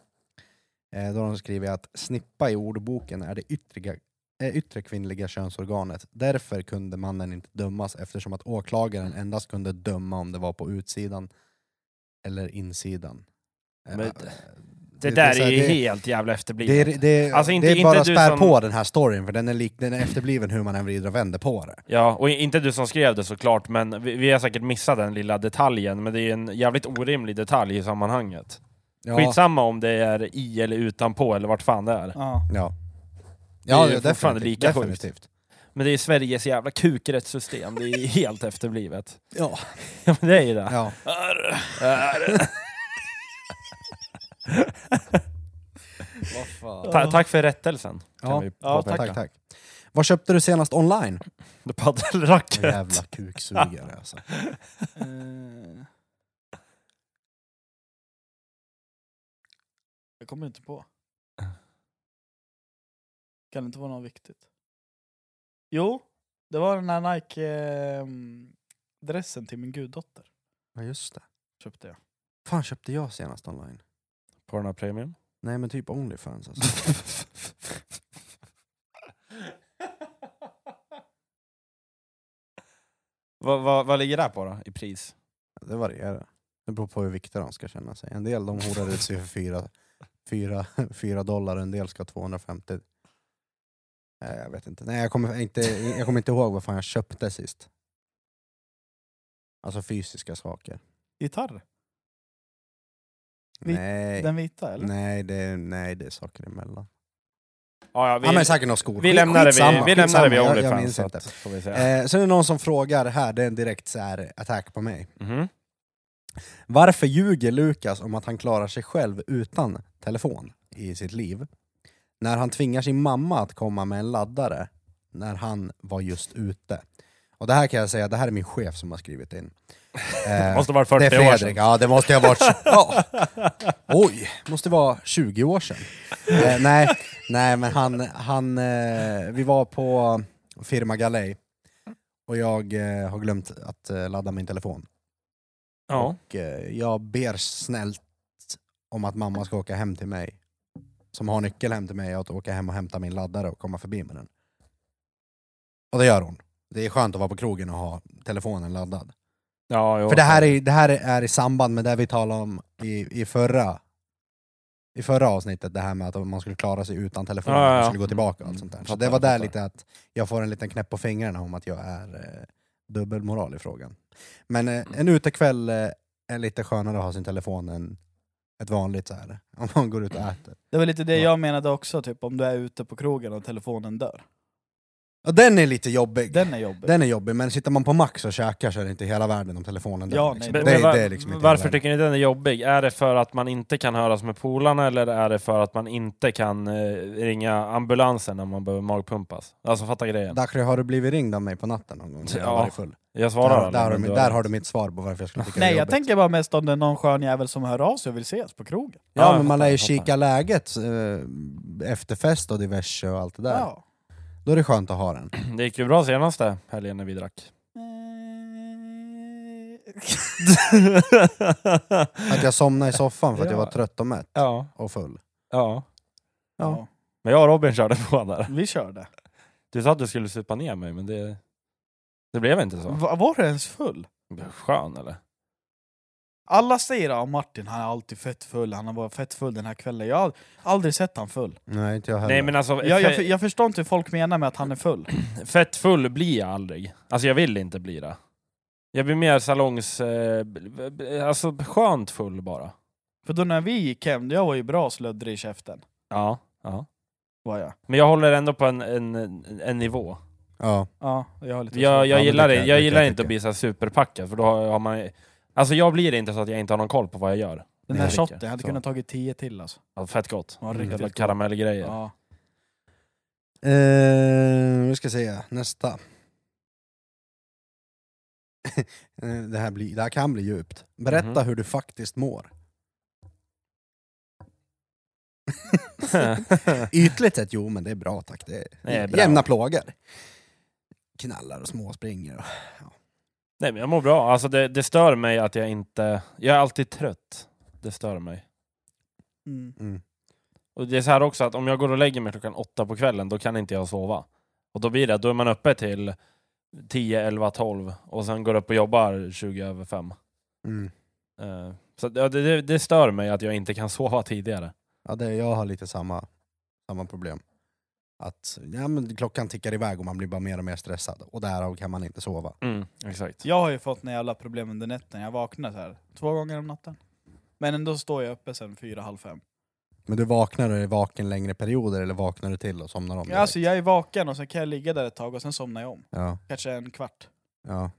Speaker 1: Eh, då har de skrivit att snippa i ordboken är det yttriga, eh, yttre kvinnliga könsorganet. Därför kunde mannen inte dömas eftersom att åklagaren endast kunde döma om det var på utsidan eller insidan. Eh,
Speaker 3: Men
Speaker 1: eh,
Speaker 3: Det
Speaker 1: är
Speaker 3: där
Speaker 1: så här,
Speaker 3: är ju
Speaker 1: det-
Speaker 3: helt jävla
Speaker 1: det,
Speaker 3: efterblivet.
Speaker 1: är- det, är-
Speaker 3: Alltså, inte-
Speaker 1: det är
Speaker 3: inte
Speaker 1: bara
Speaker 3: du
Speaker 1: spär
Speaker 3: som-
Speaker 1: på den här storyn för den är, lik, den är efterbliven hur man än vrider och vänder på det.
Speaker 3: Ja, och inte du som skrev det såklart, men vi, vi har säkert missat den lilla detaljen, men det är en jävligt orimlig detalj i sammanhanget.
Speaker 1: Ja,
Speaker 3: Skitsamma om det är i eller utanpå eller vart fan det är.
Speaker 2: Ja.
Speaker 1: Ja,
Speaker 3: Det är
Speaker 1: ja
Speaker 3: ju
Speaker 1: definitivt.
Speaker 3: fortfarande lika sjukt.
Speaker 1: definitivt.
Speaker 3: Men det är Sveriges jävla kukrättssystem, det är helt efterblivet.
Speaker 1: Ja,
Speaker 3: Ja, men det är ju det.
Speaker 1: ja. Vad fan.
Speaker 3: Ta, tack för rättelsen. kan
Speaker 1: Ja.
Speaker 3: vi
Speaker 2: Ja,
Speaker 3: påpeka.
Speaker 1: Tack, tack. Vad köpte du senast online?
Speaker 3: Paddelracket.
Speaker 1: Jävla kuksugare alltså.
Speaker 2: Eh. Jag kommer inte på. Kan det inte vara något viktigt? Jo, det var den här Nike-dressen till min guddotter.
Speaker 1: Ja, just det.
Speaker 2: Köpte jag.
Speaker 1: fan köpte jag senast online?
Speaker 3: På den här premium.
Speaker 1: Nej men typ Onlyfans alltså.
Speaker 3: vad, vad, vad ligger det här på då, i pris?
Speaker 1: Det varierar. Det beror på hur viktiga de ska känna sig. En del de horar ut sig för fyra, fyra, fyra dollar, en del ska ha 250. Nej, jag vet inte. Nej, jag, kommer inte jag kommer inte ihåg vad fan jag köpte sist. Alltså fysiska saker.
Speaker 2: Gitarr? Vi-
Speaker 1: Nej,
Speaker 2: Den vita eller?
Speaker 1: nej, det, är- nej det är saker emellan.
Speaker 3: Ja, ja,
Speaker 1: ja, men säkert några skor.
Speaker 3: vi
Speaker 1: Skit-
Speaker 3: lämnar det
Speaker 1: skitsamma,
Speaker 3: vid, vi lämnar det
Speaker 1: skitsamma.
Speaker 3: vid
Speaker 1: Jag-
Speaker 3: Onlyfans.
Speaker 1: jag minns
Speaker 3: så
Speaker 1: inte.
Speaker 3: att- Får vi se.
Speaker 1: Eh, sen är det någon som frågar här, det är en direkt så här attack på mig.
Speaker 3: Mhm.
Speaker 1: Varför ljuger Lukas om att han klarar sig själv utan telefon i sitt liv? När han tvingar sin mamma att komma med en laddare när han var just ute. Och det här kan jag säga, det här är min chef som har skrivit in. Eh,
Speaker 3: Måste vara
Speaker 1: det
Speaker 3: 40
Speaker 1: är
Speaker 3: år
Speaker 1: Fredrik,
Speaker 3: sedan.
Speaker 1: ja det måste ju ha varit... Ja. Oj, måste vara 20 år sedan. Eh, nej, nej, men han... han eh, vi var på firma Galej och jag eh, har glömt att eh, ladda min telefon.
Speaker 3: Ja.
Speaker 1: Och eh, jag ber snällt om att mamma ska åka hem till mig. Som har nyckel hem till mig, att åka hem och hämta min laddare och komma förbi med den. Och det gör hon. Det är skönt att vara på krogen och ha telefonen laddad.
Speaker 3: ja jo,
Speaker 1: För det här, är, det här är i samband med det vi talade om i, i, förra, i förra avsnittet, det här med att man skulle klara sig utan telefon,
Speaker 3: Ja, ja, ja.
Speaker 1: man skulle gå tillbaka och allt
Speaker 3: Mm,
Speaker 1: sånt där. Så
Speaker 3: fattar,
Speaker 1: det var där
Speaker 3: fattar.
Speaker 1: lite att jag får en liten knäpp på fingrarna om att jag är eh, dubbelmoral i frågan. Men eh, en utekväll eh, är lite skönare att ha sin telefon än ett vanligt så här. om man går ut och äter.
Speaker 2: Det var lite det
Speaker 1: Ja.
Speaker 2: jag menade också, typ om du är ute på krogen och telefonen dör.
Speaker 1: Och den är lite jobbig. Den...
Speaker 2: Den är jobbig.
Speaker 1: är jobbig, men sitter man på Max och käkar så är det inte hela världen om telefonen dör,
Speaker 2: Ja,
Speaker 1: liksom.
Speaker 2: nej,
Speaker 3: Men-
Speaker 1: det,
Speaker 3: men
Speaker 1: är-
Speaker 3: var-
Speaker 1: det är liksom inte hela
Speaker 3: varför
Speaker 1: världen.
Speaker 3: tycker ni den är jobbig? Är det för att man inte kan höras med polarna eller är det för att man inte kan eh, ringa ambulansen när man behöver magpumpas? Alltså fatta grejen.
Speaker 1: Dacre, har du blivit ringd av mig på natten någon gång? när jag
Speaker 3: Ja.
Speaker 1: varit full?
Speaker 3: Jag
Speaker 1: Där,
Speaker 3: svarar
Speaker 1: har-
Speaker 3: aldrig,
Speaker 1: där, har du,
Speaker 3: men
Speaker 1: mitt-
Speaker 3: du
Speaker 1: där har du mitt svar på varför jag skulle tycka det
Speaker 2: Nej
Speaker 1: är
Speaker 2: jag
Speaker 1: jobbigt.
Speaker 2: tänker bara mest om det är någon skön jävel som hör av sig och vill ses på krogen.
Speaker 1: Ja,
Speaker 3: jag
Speaker 1: men man lär ju
Speaker 3: fattar, jag fattar.
Speaker 1: kika läget eh, efter fest och diverse och allt det där.
Speaker 2: Ja.
Speaker 1: Då är det skönt att ha den.
Speaker 3: Det gick ju bra senaste helgen när vi drack.
Speaker 1: Att jag somnade i soffan för att jag
Speaker 3: Ja.
Speaker 1: var trött och mätt
Speaker 3: ja,
Speaker 1: och full.
Speaker 3: ja.
Speaker 2: ja.
Speaker 3: Men jag och Robin körde på där.
Speaker 2: Vi körde.
Speaker 3: Du sa att du skulle supa ner mig, men det, det blev inte så.
Speaker 2: Va- Var du ens full?
Speaker 1: Mm.
Speaker 3: Skön eller?
Speaker 2: Alla säger att Martin han är alltid fett full, han har varit fett full den här kvällen. Jag har aldrig sett han full.
Speaker 1: Nej, inte jag heller.
Speaker 3: Nej men alltså,
Speaker 2: Jag, jag,
Speaker 3: fe-
Speaker 2: jag förstår inte hur folk menar med att han är full.
Speaker 3: fett full blir jag aldrig. Alltså jag vill inte bli det. Jag blir mer salongs... Eh, b- b- b- alltså skönt full bara.
Speaker 2: För då när vi gick hem, jag var ju bra slöddrig i käften.
Speaker 3: Ja. ja.
Speaker 2: Var jag.
Speaker 3: Men jag håller ändå på en, en, en- en nivå.
Speaker 1: Ja.
Speaker 2: Ja, jag har lite
Speaker 3: Jag,
Speaker 2: svårt.
Speaker 1: Ja,
Speaker 3: jag
Speaker 1: men
Speaker 3: gillar,
Speaker 1: det
Speaker 3: det
Speaker 1: kan-
Speaker 3: jag
Speaker 1: det
Speaker 3: gillar
Speaker 1: kan jag
Speaker 3: inte att
Speaker 1: tycka.
Speaker 3: bli så här superpackad, för då har har man... Alltså jag blir inte så att jag inte har någon koll på vad jag gör.
Speaker 2: Den
Speaker 1: Nej,
Speaker 2: där
Speaker 3: jag
Speaker 2: shotten,
Speaker 3: tycker.
Speaker 2: jag hade
Speaker 3: Så.
Speaker 2: kunnat tagit tio till alltså.
Speaker 3: Ja, fett gott.
Speaker 2: Ja, riktigt
Speaker 3: Jävla
Speaker 2: gott.
Speaker 3: karamellgrejer.
Speaker 2: Ja.
Speaker 1: Eh, vi ska se, nästa. Eh, det, här blir, det här kan bli djupt. Berätta
Speaker 3: Mhm.
Speaker 1: hur du faktiskt mår. Ytligt sett, jo men det är bra tack. Det är,
Speaker 3: Det är bra.
Speaker 1: Jämna plågor. Knallar och småspringer. Och...
Speaker 3: Nej men jag mår bra. Alltså det, det stör mig att jag inte... Jag är alltid trött. Det stör mig.
Speaker 2: Mm.
Speaker 1: Mm.
Speaker 3: Och det är så här också att om jag går och lägger mig klockan åtta på kvällen, då kan inte jag sova. Och då blir det, då är man uppe till 10, 11, 12 och sen går upp och jobbar 20 över 5.
Speaker 1: Mm.
Speaker 3: Eh, så att, ja, det, det, det stör mig att jag inte kan sova tidigare.
Speaker 1: Ja, det, jag har lite samma, samma problem. Att ja, men klockan tickar iväg och man blir bara mer och mer stressad. Och därav kan man inte sova.
Speaker 3: exakt.
Speaker 2: Jag har ju fått några jävla problem under natten. Jag vaknar så här två gånger om natten. Men ändå står jag uppe sen fyra, halv fem.
Speaker 1: Men du vaknar och är vaken längre perioder eller vaknar du till och somnar om? direkt?
Speaker 2: Alltså jag är vaken och sen kan jag ligga där ett tag och sen somnar jag om.
Speaker 1: ja,
Speaker 2: Kanske en kvart.
Speaker 1: ja.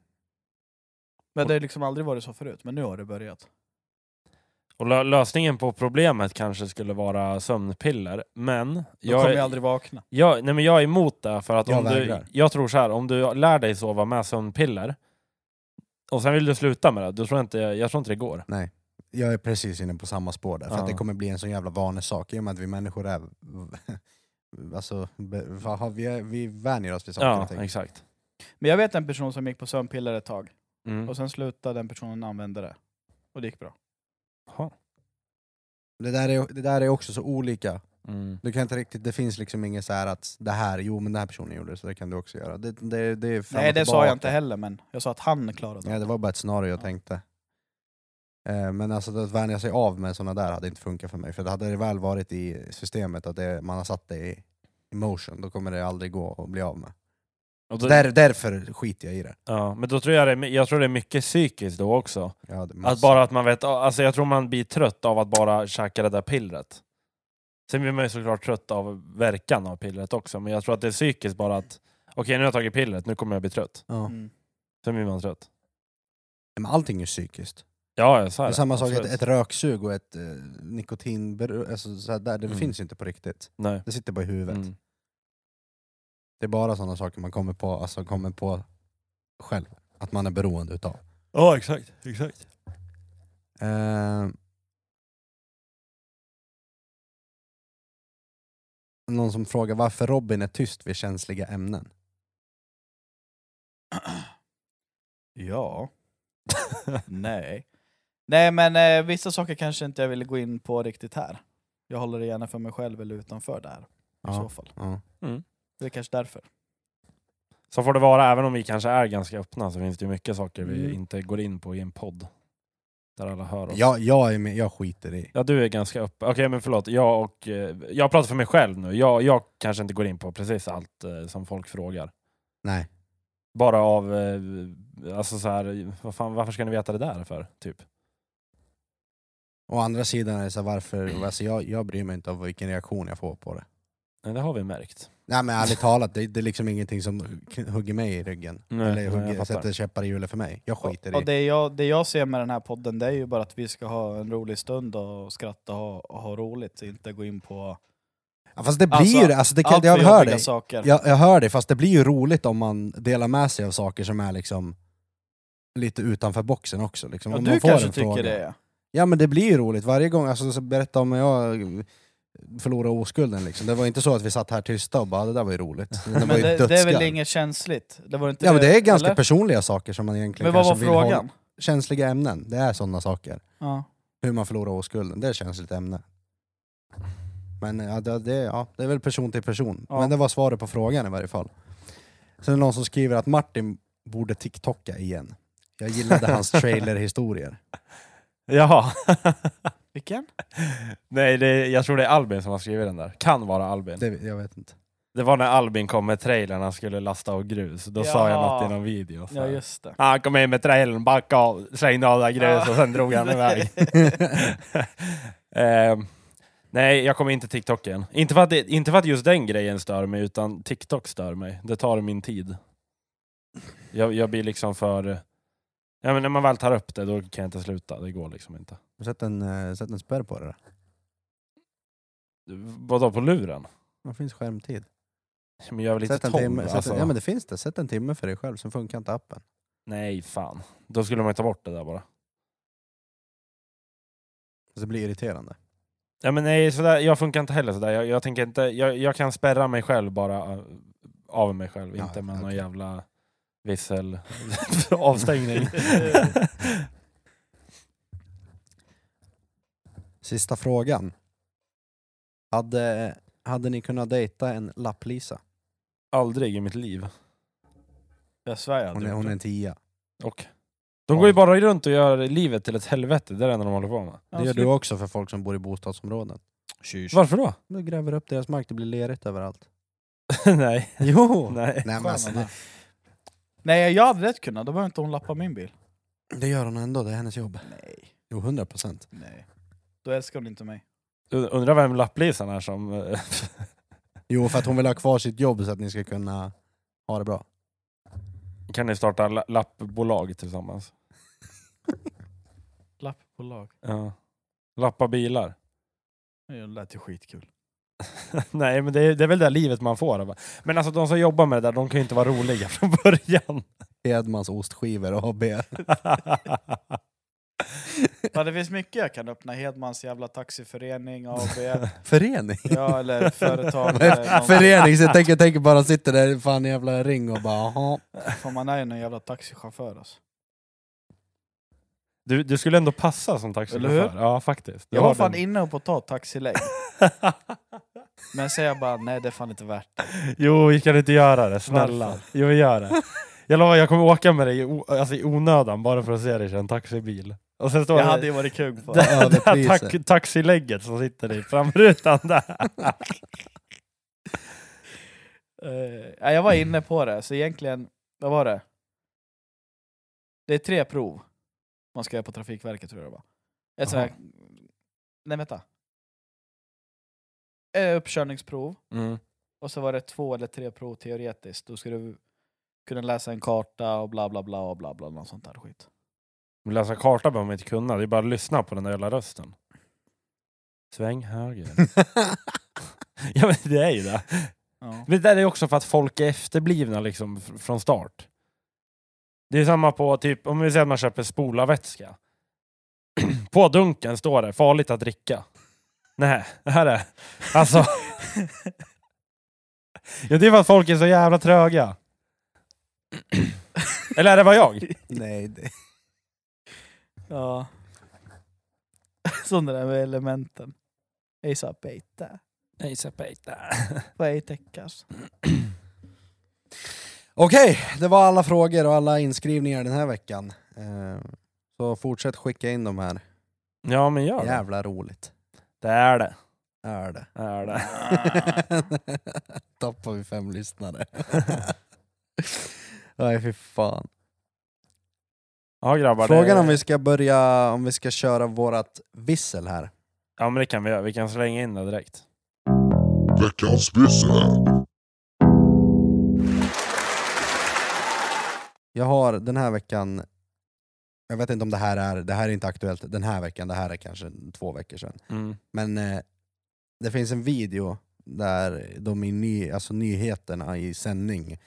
Speaker 2: Men det har liksom aldrig varit så förut, men nu har det börjat.
Speaker 3: Och lö, lösningen på problemet kanske skulle vara sömnpiller, men...
Speaker 2: Då kommer
Speaker 3: är-
Speaker 2: jag aldrig vakna.
Speaker 3: Jag, nej men jag är emot det, för att
Speaker 1: Jag
Speaker 3: om du,
Speaker 1: vägrar.
Speaker 3: jag tror så här, om du lär dig sova med sömnpiller och sen vill du sluta med det, då tror jag, inte, jag tror inte det går.
Speaker 1: Jag är precis inne på samma spår där. För att
Speaker 3: Ja.
Speaker 1: det kommer bli en sån jävla vanesak i och med att vi människor är... Alltså, be, vad har vi, vi vänjer oss vid saker
Speaker 3: Ja,
Speaker 1: och ting.
Speaker 3: exakt.
Speaker 2: Men jag vet en person som gick på sömnpiller ett tag,
Speaker 3: Mm.
Speaker 2: och sen slutade den personen använda det. Och det gick bra.
Speaker 3: Ja.
Speaker 1: Det där, är, det där är också så olika.
Speaker 3: Mm.
Speaker 1: Du kan inte riktigt, det finns liksom inget så här att det här, jo men den här personen gjorde det så det kan du också göra. Det, det, det är fram och
Speaker 2: Nej det sa jag
Speaker 1: tillbaka.
Speaker 2: inte heller, men jag sa att han klarade
Speaker 1: Ja,
Speaker 2: det.
Speaker 1: det var bara ett scenario jag
Speaker 2: Ja.
Speaker 1: tänkte. Eh, Men alltså att vänja sig av med sådana där hade inte funkat för mig. För det hade det väl varit i systemet att det, man har satt det i i motion, då kommer det aldrig gå att bli av med.
Speaker 3: Och
Speaker 1: Så
Speaker 3: då,
Speaker 1: där, därför skiter jag i det.
Speaker 3: ja, men då tror jag, det, är my- jag tror det är mycket psykiskt då också.
Speaker 1: Jag hade
Speaker 3: Att bara att man vet, alltså jag tror man blir trött av att bara käka det där pillret. Sen blir man ju såklart trött av verkan av pillret också, men jag tror att det är psykiskt bara att okej nu har jag tagit pillret, nu kommer jag bli trött.
Speaker 1: ja.
Speaker 2: Mm.
Speaker 3: Sen blir man trött.
Speaker 1: Men allting är ju psykiskt.
Speaker 3: Ja, ja, så
Speaker 1: Det
Speaker 3: är
Speaker 1: är samma sak, ett,
Speaker 3: Absolut.
Speaker 1: ett röksug och ett eh, nikotin... Alltså, så här där, det
Speaker 3: Mm.
Speaker 1: finns ju inte på riktigt.
Speaker 3: Nej.
Speaker 1: Det sitter bara i huvudet.
Speaker 3: Mm.
Speaker 1: Det är bara sådana saker man kommer på, alltså, kommer på själv. Att man är beroende utav.
Speaker 3: Ja, exakt. exakt.
Speaker 1: Eh, någon som frågar varför Robin är tyst vid känsliga ämnen.
Speaker 2: Ja. Nej. Nej men eh, vissa saker kanske inte jag vill gå in på riktigt här. Jag håller det gärna för mig själv eller utanför där. I så
Speaker 1: Ja,
Speaker 2: fall.
Speaker 1: ja.
Speaker 2: Det är kanske därför.
Speaker 3: Mm. Så får det vara, även om vi kanske är ganska öppna så finns det ju mycket saker vi
Speaker 2: Mm.
Speaker 3: inte går in på i en podd. Där alla hör oss.
Speaker 1: Jag, jag, är med, jag skiter i.
Speaker 3: Ja, du är ganska öppen. Okej, men förlåt. Jag, och, eh, jag pratar för mig själv nu. Jag, jag kanske inte går in på precis allt eh, som folk frågar.
Speaker 1: Nej.
Speaker 3: Bara av, eh, alltså så här, vad fan, varför ska ni veta det där för? Typ.
Speaker 1: Å andra sidan är det så här, varför, alltså jag, jag bryr mig inte om vilken reaktion jag får på det.
Speaker 3: Nej, det har vi märkt.
Speaker 1: Nej men ärligt talat, det, det är liksom ingenting som k- hugger mig i ryggen.
Speaker 3: Nej,
Speaker 1: Eller
Speaker 3: nej,
Speaker 1: hugger,
Speaker 3: jag fattar.
Speaker 1: sätter käppar i hjulet för mig. Jag skiter
Speaker 2: Och
Speaker 1: i.
Speaker 2: det jag, det jag ser med den här podden det är ju bara att vi ska ha en rolig stund och skratta och, ha- och ha roligt. Inte gå in på
Speaker 1: Ja, fast det blir
Speaker 2: Alltså,
Speaker 1: ju det, alltså, det kan,
Speaker 2: allt
Speaker 1: jag
Speaker 2: för
Speaker 1: hör
Speaker 2: jobbiga
Speaker 1: dig.
Speaker 2: saker.
Speaker 1: Jag, jag hör dig, fast det blir ju roligt om man delar med sig av saker som är liksom lite utanför boxen också. Liksom.
Speaker 2: Ja,
Speaker 1: om
Speaker 2: du
Speaker 1: man får
Speaker 2: kanske
Speaker 1: en
Speaker 2: tycker
Speaker 1: fråga.
Speaker 2: det. ja.
Speaker 1: Ja men det blir ju roligt varje gång, alltså så berätta om när jag förlorade oskulden liksom. Det var inte så att vi satt här tysta och bara det där var ju roligt. Det
Speaker 2: Men
Speaker 1: var ju
Speaker 2: det, det är väl
Speaker 1: dödsgarv.
Speaker 2: inget känsligt? Det var inte
Speaker 1: Ja men det är ganska
Speaker 2: eller?
Speaker 1: personliga saker som man egentligen
Speaker 2: Men vad var
Speaker 1: kanske vill hålla-
Speaker 2: frågan?
Speaker 1: Känsliga ämnen, det är sådana saker.
Speaker 2: Ja.
Speaker 1: Hur man förlorar oskulden, det är ett känsligt ämne. Men ja, det, det, ja, det är väl person till person.
Speaker 2: Ja.
Speaker 1: Men det var svaret på frågan i varje fall. Sen är det någon som skriver att Martin borde TikToka igen. Jag gillade hans trailerhistorier.
Speaker 3: Jaha.
Speaker 2: Vilken?
Speaker 3: Nej, det, jag tror det är Albin som har skrivit den där. Kan vara Albin.
Speaker 1: Det, jag vet inte.
Speaker 3: Det var när Albin kom med trailern han skulle lasta av grus. Då sa jag
Speaker 2: Ja.
Speaker 3: något i någon video. så
Speaker 2: Ja
Speaker 3: här.
Speaker 2: just det.
Speaker 3: Han kom in med trailern, backade av, slängde av det här grus
Speaker 2: Ja.
Speaker 3: och sen drog han iväg. Ehm, nej, jag kommer inte TikTok igen. Inte för, att det, inte för att just den grejen stör mig, utan TikTok stör mig. Det tar min tid. Jag, jag blir liksom för... Ja, men när man väl tar upp det, då kan jag inte sluta. Det går liksom inte.
Speaker 1: Sätt en, eh, sätt en spärr på det där.
Speaker 3: Vadå, på luren?
Speaker 1: Det finns skärmtid.
Speaker 3: Men jag är väl inte
Speaker 1: Sätt en
Speaker 3: tolv?
Speaker 1: timme, sätt en,
Speaker 3: alltså.
Speaker 1: ja men det finns det. Sätt en timme för dig själv, sen funkar inte appen.
Speaker 3: Nej, fan. Då skulle man ju ta bort det där bara.
Speaker 1: Så det blir irriterande.
Speaker 3: Ja, men nej, sådär, jag funkar inte heller sådär. Jag, jag, tänker inte, jag, jag kan spärra mig själv bara äh, av mig själv,
Speaker 1: Ja,
Speaker 3: inte med någon
Speaker 1: okej.
Speaker 3: jävla vissel avstängning.
Speaker 1: Sista frågan. Hade, hade ni kunnat dejta en lapplisa?
Speaker 3: Aldrig i mitt liv.
Speaker 2: Jag svär jag
Speaker 1: Hon är, hon är en tia.
Speaker 3: Och de går ju bara runt och gör livet till ett helvete, det är det enda de håller på med.
Speaker 1: Det gör du också för folk som bor i bostadsområden.
Speaker 3: Varför då?
Speaker 1: Du gräver upp deras mark, det blir lerigt överallt.
Speaker 3: nej.
Speaker 1: Jo! Nej,
Speaker 3: nej.
Speaker 1: men alltså, det,
Speaker 2: Nej jag hade rätt kunnat, då behöver inte hon lappa min bil.
Speaker 1: det gör hon ändå, det är hennes jobb.
Speaker 2: Nej,
Speaker 1: Jo, 100 procent.
Speaker 2: nej. Då älskar hon inte mig.
Speaker 3: Und- Undrar vem lapplisan är som... eh,
Speaker 1: Jo, för att hon vill ha kvar sitt jobb så att ni ska kunna ha det bra.
Speaker 3: kan ni starta la- lappbolag tillsammans?
Speaker 2: Lappbolag.
Speaker 3: Ja. Lappa bilar.
Speaker 2: Det lät ju skitkul.
Speaker 3: Nej, men det är, det är väl det livet man får. va? Men alltså de som jobbar med det där, de kan ju inte vara roliga från början.
Speaker 1: Edmans ostskivor AB.
Speaker 2: Ja, det finns mycket jag kan öppna. Hedmans jävla taxiförening, AB,
Speaker 1: Förening?
Speaker 2: ja, eller företag.
Speaker 1: Vad
Speaker 2: eller
Speaker 1: är
Speaker 2: någon-
Speaker 1: Förening, så jag tänker, jag tänker bara sitter där fan i jävla ring och bara jaha.
Speaker 2: Fan, man är ju någon jävla taxichaufför alltså.
Speaker 3: Du, du skulle ändå passa som
Speaker 2: Eller
Speaker 3: taxichaufför. Ja, faktiskt. Du
Speaker 2: Jag var
Speaker 3: har
Speaker 2: fan
Speaker 3: den-
Speaker 2: inne på att ta taxilägg, men sen jag bara nej det är fan inte värt det.
Speaker 3: Jo, vi kan inte göra det. Snälla.
Speaker 2: Varför?
Speaker 3: Jo, vi gör det. Jag lovar, jag kommer åka med dig i, o- alltså, i onödan bara för att se dig i en taxibil. Och sen står
Speaker 2: Jag
Speaker 3: det-
Speaker 2: hade ju varit kung på
Speaker 3: det
Speaker 2: det.
Speaker 3: här, det här
Speaker 1: Överpriser.
Speaker 3: tax, taxilägget som sitter i framrutan där.
Speaker 2: Eh, ja, jag var inne på det, så egentligen, vad var det? Det är tre prov man ska göra på Trafikverket tror jag det var. Ett sånt här... Nej vänta. Eh, Uppkörningsprov,
Speaker 3: Mm.
Speaker 2: och så var det två eller tre prov teoretiskt. Då ska du kunna läsa en karta och bla bla bla och bla bla, något sånt där skit.
Speaker 3: Men Läsa karta behöver man inte kunna, det är bara att lyssna på den där jävla rösten. Sväng höger. ja men det är ju det.
Speaker 2: Ja.
Speaker 3: Men det där är också för att folk är efterblivna liksom fr- från start. Det är samma på, typ, om vi säger att man köper spolarvätska. på dunken står det farligt att dricka. Nej, det här är... Alltså... ja, det är för att folk är så jävla tröga. Eller är det bara jag?
Speaker 1: Nej, det...
Speaker 2: Ja. Som det där med elementen. ASAP Eita.
Speaker 3: Hejsa pejta.
Speaker 2: Vad är täckas?
Speaker 1: Okej, det var alla frågor och alla inskrivningar den här veckan. Eh, Så fortsätt skicka in de här.
Speaker 3: Ja men gör det.
Speaker 1: Jävla roligt.
Speaker 3: Det är det.
Speaker 1: Är det.
Speaker 3: det, är det.
Speaker 1: Tappar vi fem lyssnare. Nej fy fan.
Speaker 3: Ja grabbar.
Speaker 1: Frågan
Speaker 3: det...
Speaker 1: om vi ska börja, om vi ska köra vårat vissel här.
Speaker 3: Ja men det kan vi göra. Vi kan slänga in det direkt.
Speaker 4: Veckans byssel.
Speaker 1: Jag har den här veckan, jag vet inte om det här är, det här är inte aktuellt den här veckan, det här är kanske två veckor sedan.
Speaker 3: Mm.
Speaker 1: Men eh, det finns en video där de i ny, alltså nyheterna i sändning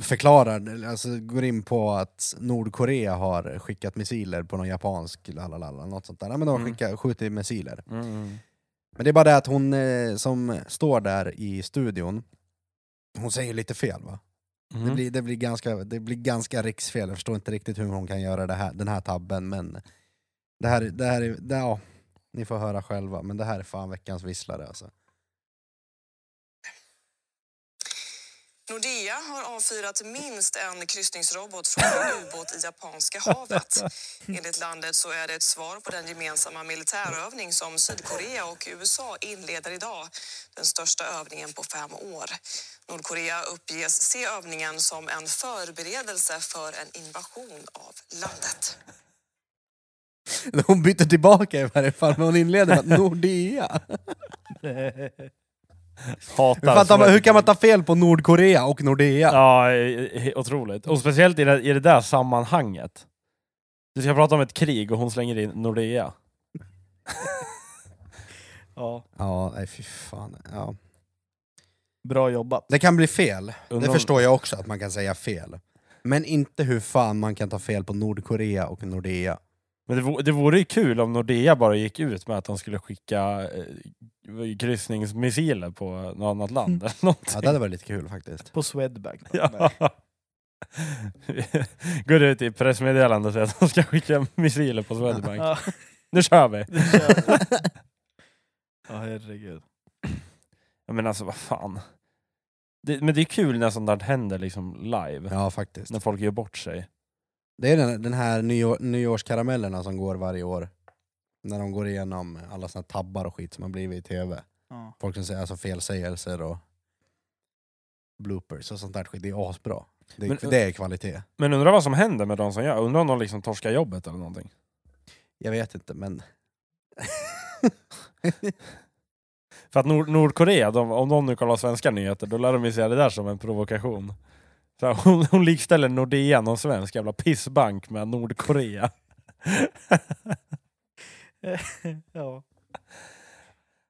Speaker 1: förklarar, alltså går in på att Nordkorea har skickat missiler på någon japansk, lalalala, något sånt där. Ja, men de har
Speaker 3: Mm.
Speaker 1: skickat, skjutit missiler.
Speaker 3: Mm.
Speaker 1: Men det är bara det att hon eh, som står där i studion, hon säger lite fel va? Det,
Speaker 3: Mm.
Speaker 1: blir, det, blir ganska, det blir ganska riksfel, jag förstår inte riktigt hur hon kan göra det här, den här tabben men det här, det här är, det, ja, ni får höra själva, men det här är fan veckans visslare alltså.
Speaker 5: Nordea har avfyrat minst en kryssningsrobot från en ubåt i Japanska havet. Enligt landet så är det ett svar på den gemensamma militärövning som Sydkorea och USA inleder idag. Den största övningen på fem år. Nordkorea uppges se övningen som en förberedelse för en invasion av landet.
Speaker 1: Hon byter tillbaka i varje fall, men hon inleder med att Nordea. Hur, fan
Speaker 3: Hatar
Speaker 1: tar man,
Speaker 3: Sverige.
Speaker 1: hur kan man ta fel på Nordkorea och Nordea?
Speaker 3: Ja, eh, eh, otroligt. Och speciellt i det, i det där sammanhanget. Du ska prata om ett krig och hon slänger in Nordea.
Speaker 2: Ja,
Speaker 1: Ja, nej fy fan. Ja.
Speaker 2: bra jobbat.
Speaker 1: Det kan bli fel,
Speaker 3: Undrar
Speaker 1: det
Speaker 3: om-
Speaker 1: förstår jag också att man kan säga fel. Men inte hur fan man kan ta fel på Nordkorea och Nordea.
Speaker 3: Men det vore, det vore ju kul om Nordea bara gick ut med att de skulle skicka eh, kryssningsmissiler på något annat land eller
Speaker 1: Ja,
Speaker 3: någonting.
Speaker 1: det hade varit lite kul faktiskt.
Speaker 2: På Swedbank.
Speaker 3: Ja. Går ut i pressmeddelande och säger att de ska skicka missiler på Swedbank.
Speaker 2: Ja,
Speaker 3: Nu kör vi!
Speaker 2: det kör vi. Ja, herregud.
Speaker 3: Ja, men alltså vad fan. Det, men det är kul när sånt där händer liksom live.
Speaker 1: Ja, faktiskt.
Speaker 3: När folk gör bort sig.
Speaker 1: Det är den, den här nyår, nyårskaramellerna som går varje år. När de går igenom alla såna tabbar och skit som har blivit i tv.
Speaker 2: Ja.
Speaker 1: Folk som säger alltså felsägelser och bloopers och sånt där skit. Det är asbra. Det är,
Speaker 3: Men-
Speaker 1: det är kvalitet.
Speaker 3: Men undrar vad som händer med de som gör. Undrar om de liksom torskar jobbet eller någonting.
Speaker 1: Jag vet inte men...
Speaker 3: För att Nord Nordkorea, de, om de nu kollar svenska nyheter, då lär de ju se det där som en provokation. Så här, hon, hon likställer Nordea, någon svensk jävla pissbank, med Nordkorea.
Speaker 2: Ja.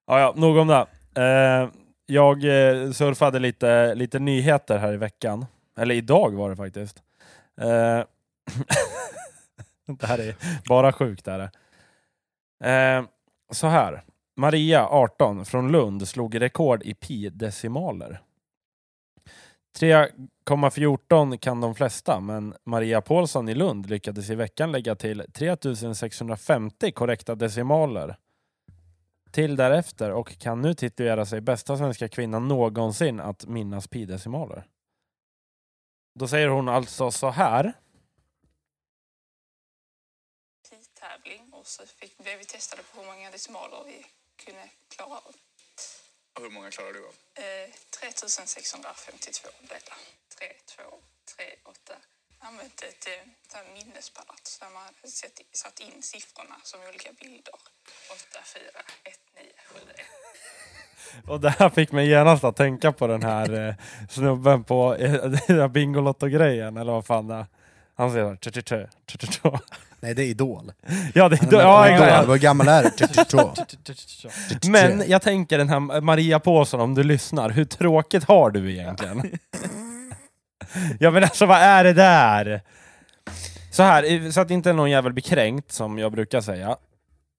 Speaker 3: Ja, ja, nog om det. Eh, jag eh, surfade lite, lite nyheter här i veckan. Eller idag var det faktiskt. Eh, det här är bara sjukt. Är det. Eh, så här. Maria, 18, från Lund, slog rekord i pi-decimaler. 3,14 kan de flesta, men Maria Paulsson i Lund lyckades i veckan lägga till 3650 korrekta decimaler till därefter och kan nu titulera sig bästa svenska kvinna någonsin att minnas pi-decimaler. Då säger hon alltså så här.
Speaker 6: tävling och så fick, blev vi testade på hur många decimaler vi kunde klara av.
Speaker 7: Och hur många klarar du av?
Speaker 6: Eh, 3652 blev det. 3, 2, 3, 8. Jag använde ett eh, sånt här minnespalats där man hade sett, satt in siffrorna som olika bilder. 8, 4, 1, 9, 7, 1.
Speaker 3: Och det här fick mig genast att tänka på den här eh, snubben på eh, den där Bingolotto-grejen eller vad fan det är. Han säger tjö, tjö, tjö, tjö, tjö, tjö.
Speaker 1: Nej det är Idol.
Speaker 3: Ja, det,
Speaker 1: Men-
Speaker 3: ja,
Speaker 1: Idol,
Speaker 3: exakt.
Speaker 1: Hur gammal är du? Tjuttiotvå.
Speaker 3: Men jag tänker den här Maria Påsson, om du lyssnar, hur tråkigt har du egentligen? ja men alltså vad är det där? Så här, så att inte någon jävel blir kränkt som jag brukar säga.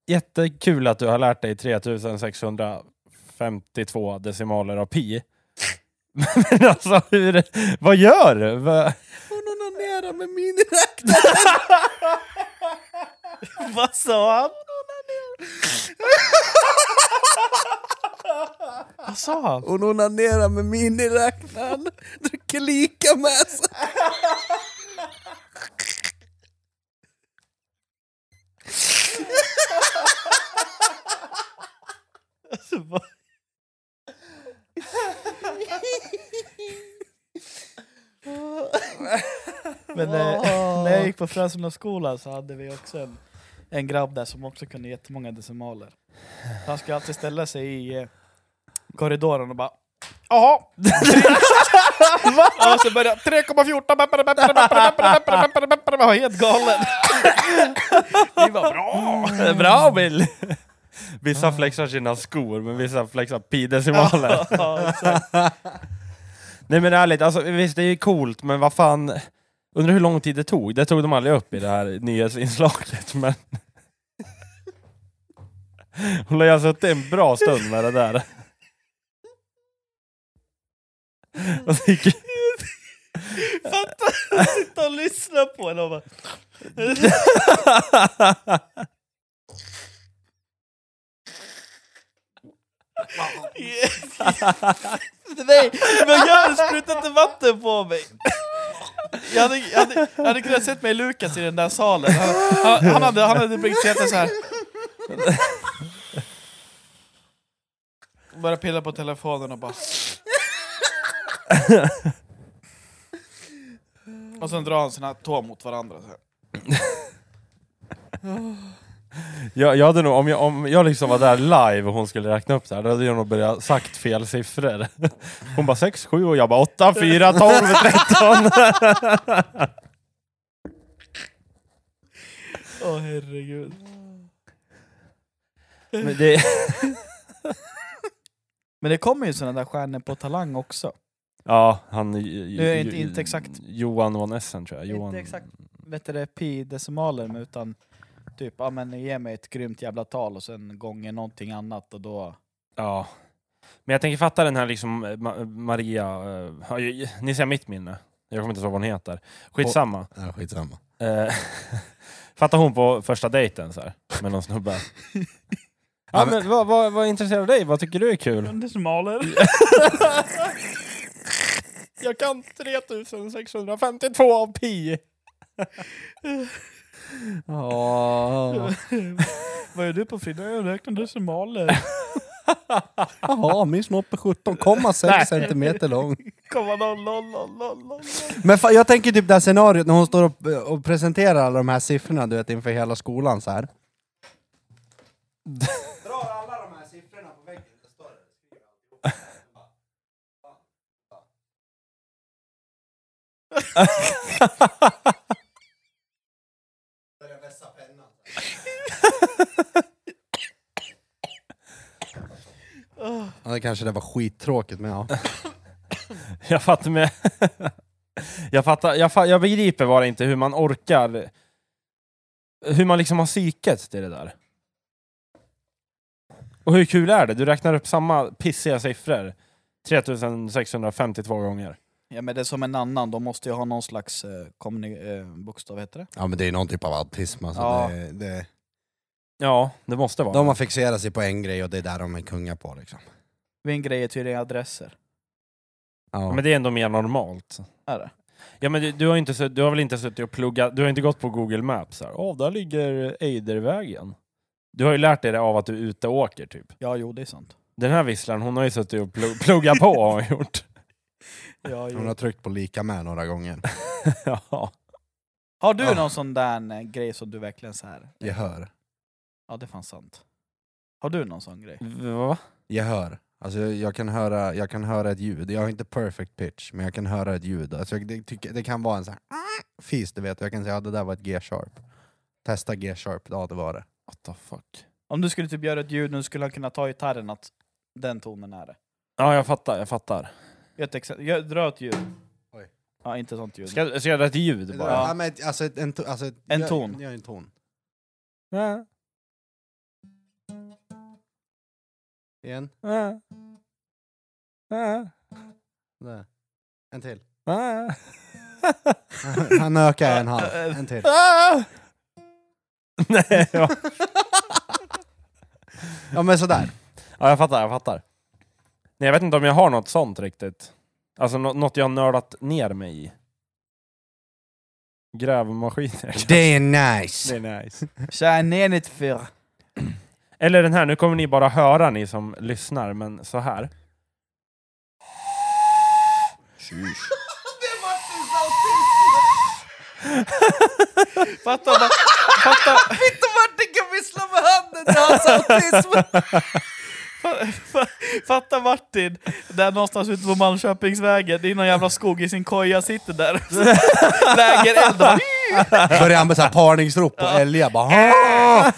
Speaker 3: Jättekul att du har lärt dig 3652 decimaler av pi. Men alltså, hur, vad gör du? Va-
Speaker 1: Hon onanerar med miniräknare!
Speaker 2: Vad sa han? Vad sa han?
Speaker 1: Hon onanerar med miniräknaren. Dricker lika med sig.
Speaker 2: Alltså, vad- Men eh, när jag gick på Frösundaskolan så hade vi också en, en grabb där som också kunde jättemånga decimaler. Han skulle alltid ställa sig i eh, korridoren och bara Jaha! och så började 3,14 Han var helt galen. Vi var bra!
Speaker 3: Bra Bill! Vissa flexar sina skor, men vissa flexar pi-decimaler.
Speaker 2: Ja, exakt.
Speaker 3: Nej men ärligt, alltså, visst det är ju coolt, men vad fan... Undrar hur lång tid det tog? Det tog de aldrig upp i det här nyhetsinslaget, men... Hon har ju alltså suttit en bra stund med det där. Och så gick-
Speaker 2: Fatta, sitta och lyssna på henne och bara... Nej, men jag hade sprutat inte vatten på mig! Jag hade, jag hade, jag hade kunnat sett mig Lukas i den där salen. Han, han, han hade, han hade blivit sett så här. Bara pilla på telefonen och bara... Och sen drar han sina tår mot varandra. Så här.
Speaker 3: jag, jag hade nog, om, jag, om jag liksom var där live och hon skulle räkna upp det här, då hade jag nog börjat sagt fel siffror. Hon bara 6, 7 och jag bara 8, 4, 12, 13.
Speaker 2: Åh herregud.
Speaker 3: Men det,
Speaker 2: Men det kommer ju såna där stjärnor på Talang också.
Speaker 3: Ja, han...
Speaker 2: Nu är det inte- inte exakt.
Speaker 3: Johan von Essen tror jag.
Speaker 2: Inte
Speaker 3: Johan,
Speaker 2: exakt. Vet du det, pi decimaler men utan typ, ja men ge mig ett grymt jävla tal och sen gånger någonting annat och då...
Speaker 3: Ja. Men jag tänker fatta den här liksom eh, Ma- Maria... eh, ja, ju- ni ser mitt minne. Jag kommer inte ihåg vad hon heter. Skitsamma.
Speaker 1: Ja, skitsamma.
Speaker 3: Eh, fatta hon på första dejten så här, med någon snubbe. Ja,
Speaker 1: Ja,
Speaker 3: men, vad, vad, vad intresserar dig? Vad tycker du är kul?
Speaker 2: Decimaler?
Speaker 3: Jag kan 3652 av pi!
Speaker 1: Ja,
Speaker 2: Vad gör du på fredag? Jag räknar decimaler.
Speaker 1: Jaha, min snopp är 17,6 centimeter lång.
Speaker 2: Komma noll, noll, noll, noll, noll.
Speaker 1: Men fa- jag tänker typ det här scenariot när hon står och, och presenterar alla de här siffrorna du vet inför hela skolan så här. Drar alla de här siffrorna på väggen? Ja, det kanske det var skittråkigt men ja.
Speaker 3: Jag fattar med. jag, fattar, jag, fa- jag begriper bara inte hur man orkar. Hur man liksom har psyket till det där. Och hur kul är det? Du räknar upp samma pissiga siffror 3652 gånger.
Speaker 2: Ja men det är som en annan, de måste ju ha någon slags eh, kommuni- eh, bokstav, heter det?
Speaker 1: Ja men det är någon typ av autism alltså.
Speaker 2: Ja.
Speaker 1: Det, det...
Speaker 3: Ja, det måste vara.
Speaker 1: De har fixerat sig på en grej och det är där de är kungar på liksom.
Speaker 2: Min grej är tydligen adresser.
Speaker 1: Ja.
Speaker 3: Ja, Men det är ändå mer normalt.
Speaker 2: Är det?
Speaker 3: Ja, men du, du, har inte, sutt- du har väl inte suttit och pluggat? Du har inte gått på Google Maps? Åh, oh, där ligger Eidervägen. Du har ju lärt dig det av att du är ute och åker typ.
Speaker 2: Ja, jo det är sant.
Speaker 3: Den här visslaren, hon har ju suttit och pl- pluggat på har hon gjort.
Speaker 2: Ja,
Speaker 1: Hon har tryckt på lika med några gånger.
Speaker 3: ja.
Speaker 2: Har du
Speaker 1: Ah.
Speaker 2: någon sån där eh, grej som du verkligen så här?
Speaker 1: Gehör.
Speaker 2: Ja, det är fan sant. Har du någon sån grej?
Speaker 3: Va?
Speaker 1: Gehör. Alltså jag, jag, kan höra, jag kan höra ett ljud. Jag har inte perfect pitch, men jag kan höra ett ljud. Alltså jag, det, tycker, det kan vara en sån här "Ah, fis, du vet. Jag kan säga att ja, det där var ett G-sharp. Testa G-sharp, ja det var det.
Speaker 3: What the fuck?
Speaker 2: Om du skulle typ göra ett ljud nu skulle han kunna ta gitarren att den tonen är det.
Speaker 3: Ja, jag fattar, jag fattar.
Speaker 2: Gör ett exempel, gör, dra ett ljud.
Speaker 1: Oj.
Speaker 2: Ja, inte sånt ljud.
Speaker 3: Ska, ska jag göra ett ljud bara?
Speaker 1: Ja, men, alltså, ett- en, to- alltså, ett-
Speaker 2: En
Speaker 1: gör-
Speaker 2: ton.
Speaker 1: Gör en ton.
Speaker 3: Ja,
Speaker 1: Igen.
Speaker 3: ja. Ja,
Speaker 1: Där. En till. Ah.
Speaker 3: ja.
Speaker 1: Han ökar en halv. En till.
Speaker 3: Ah! Nej, va?
Speaker 1: Ja men sådär.
Speaker 3: Ja, jag fattar, jag fattar. Nej, jag vet inte om jag har något sånt riktigt. Alltså nå- något jag har nördat ner mig i. Grävmaskiner.
Speaker 1: Det är nice!
Speaker 3: Det är nice.
Speaker 2: Tja, nej, inte för.
Speaker 3: Eller den här, nu kommer ni bara höra ni som lyssnar, men så här.
Speaker 2: Fatta vad... Fatta...
Speaker 1: Inte Martin kan vissla med handen till hans autism!
Speaker 2: Fatta Martin, där någonstans ute på Malmköpingsvägen, det är någon jävla skog i sin koja, sitter där och så lägger eld. bara,
Speaker 1: Börjar han med såhär parningsrop på älgar bara "Ah!"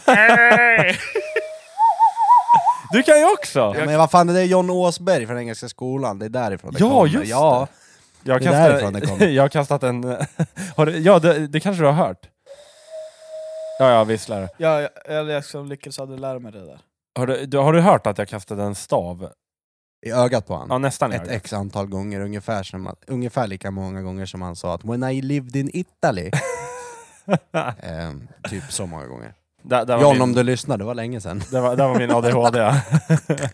Speaker 3: Du kan ju också!
Speaker 1: ja, Men vad fan, det är John Åsberg från Engelska skolan, det är därifrån det
Speaker 3: Ja,
Speaker 1: kommer.
Speaker 3: just
Speaker 1: ja.
Speaker 3: Jag har
Speaker 1: Det är
Speaker 3: kastat-
Speaker 1: därifrån det kommer.
Speaker 3: Jag har kastat en... eh, Har du, ja, det, det kanske du har hört? Ja, jag visslar.
Speaker 2: Ja, jag, eller jag som lyckades aldrig lära mig det där.
Speaker 3: Har du, du, har du hört att jag kastade en stav?
Speaker 1: I ögat på han.
Speaker 3: Ja, nästan i
Speaker 1: Ett
Speaker 3: ögat.
Speaker 1: x antal gånger, ungefär, som att, ungefär lika många gånger som han sa att “When I lived in Italy” Ehm, Typ så många gånger.
Speaker 3: Där, där var
Speaker 1: John
Speaker 3: min-
Speaker 1: om du lyssnar, det var länge sedan.
Speaker 3: Det var, där var min ADHD. ja.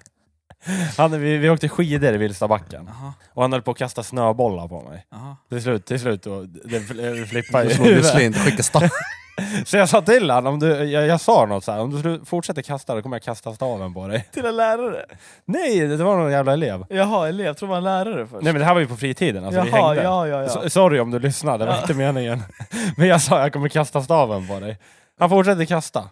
Speaker 3: han, vi, vi åkte skidor i Vilstabacken
Speaker 2: Aha,
Speaker 3: och han höll på att kasta snöbollar på mig.
Speaker 2: aha.
Speaker 3: Till slut, till slut då, det fl- flippade
Speaker 1: Du
Speaker 3: i
Speaker 1: slog ju
Speaker 3: huvudet.
Speaker 1: slint, skickade stav.
Speaker 3: Så jag sa till honom, om du, jag, jag sa något så här, om du slu- fortsätter kasta då kommer jag kasta staven på dig.
Speaker 2: Till en lärare?
Speaker 3: Nej, det var någon jävla elev.
Speaker 2: Jaha, elev. Jag tror det var en lärare först.
Speaker 3: Nej men det här var ju på fritiden, alltså vi
Speaker 2: Jaha,
Speaker 3: hängde.
Speaker 2: ja, ja, ja.
Speaker 3: So- Sorry om du lyssnar, det var
Speaker 2: Ja.
Speaker 3: inte meningen. Men jag sa jag kommer kasta staven på dig. Han fortsätter kasta.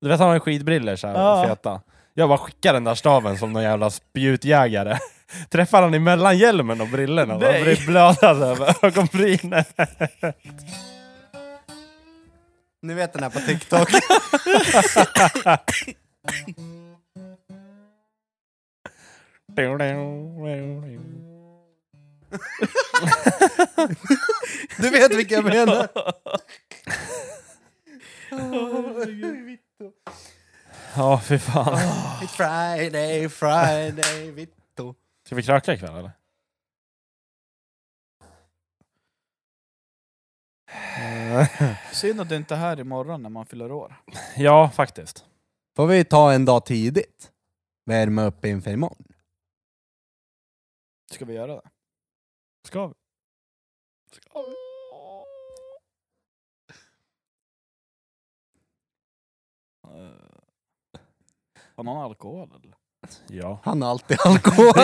Speaker 3: Du vet han har ju skidbriller så här,
Speaker 2: Ja.
Speaker 3: feta. Jag bara skickar den där staven som någon jävla spjutjägare. Träffar han emellan hjälmen och brillorna och
Speaker 2: Nej.
Speaker 3: han blir blöda så här över ögonbrynen.
Speaker 1: Ni vet den här på TikTok. Du vet vilka jag menar.
Speaker 3: Ja, fy fan.
Speaker 1: Friday, Friday, Vitto.
Speaker 3: Ska vi kröka ikväll eller?
Speaker 2: Synd att det inte är här imorgon när man fyller år.
Speaker 3: Ja, faktiskt.
Speaker 1: Får vi ta en dag tidigt? Värma upp inför imorgon.
Speaker 2: Ska vi göra det?
Speaker 3: Ska vi?
Speaker 2: Uh, har någon alkohol eller?
Speaker 3: Ja.
Speaker 1: Han har alltid alkohol.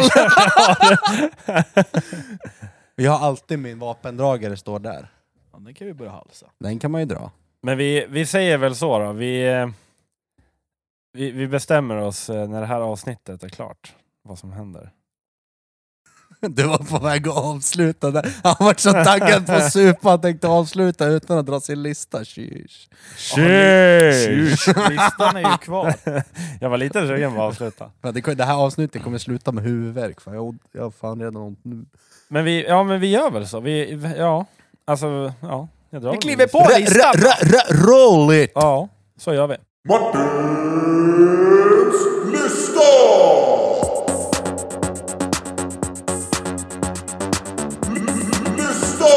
Speaker 1: Jag har alltid min vapendragare står där.
Speaker 2: Ja, den kan vi börja halsa.
Speaker 1: Den kan man ju dra.
Speaker 3: Men vi, vi säger väl så då. Vi, eh, vi, vi bestämmer oss eh, när det här avsnittet är klart. Vad som händer.
Speaker 1: Du var på väg att avsluta där. Han var så taggad på att supa, han tänkte avsluta utan att dra sin lista. Sheesh.
Speaker 3: Tjus!
Speaker 2: Listan är ju kvar.
Speaker 3: Jag var lite sugen på att avsluta.
Speaker 1: Ja, Det det här avsnittet kommer sluta med huvudvärk, fan. jag har ont- jag har fan redan ont nu.
Speaker 3: Men vi, ja, men vi gör väl så. Vi, ja, alltså, ja. Jag drar
Speaker 2: Vi
Speaker 3: väl
Speaker 2: kliver
Speaker 3: lite.
Speaker 2: på
Speaker 1: R-
Speaker 2: listan!
Speaker 1: r- r- r- Roll it!
Speaker 3: Ja, så gör vi.
Speaker 4: Martins lista! L- Lista!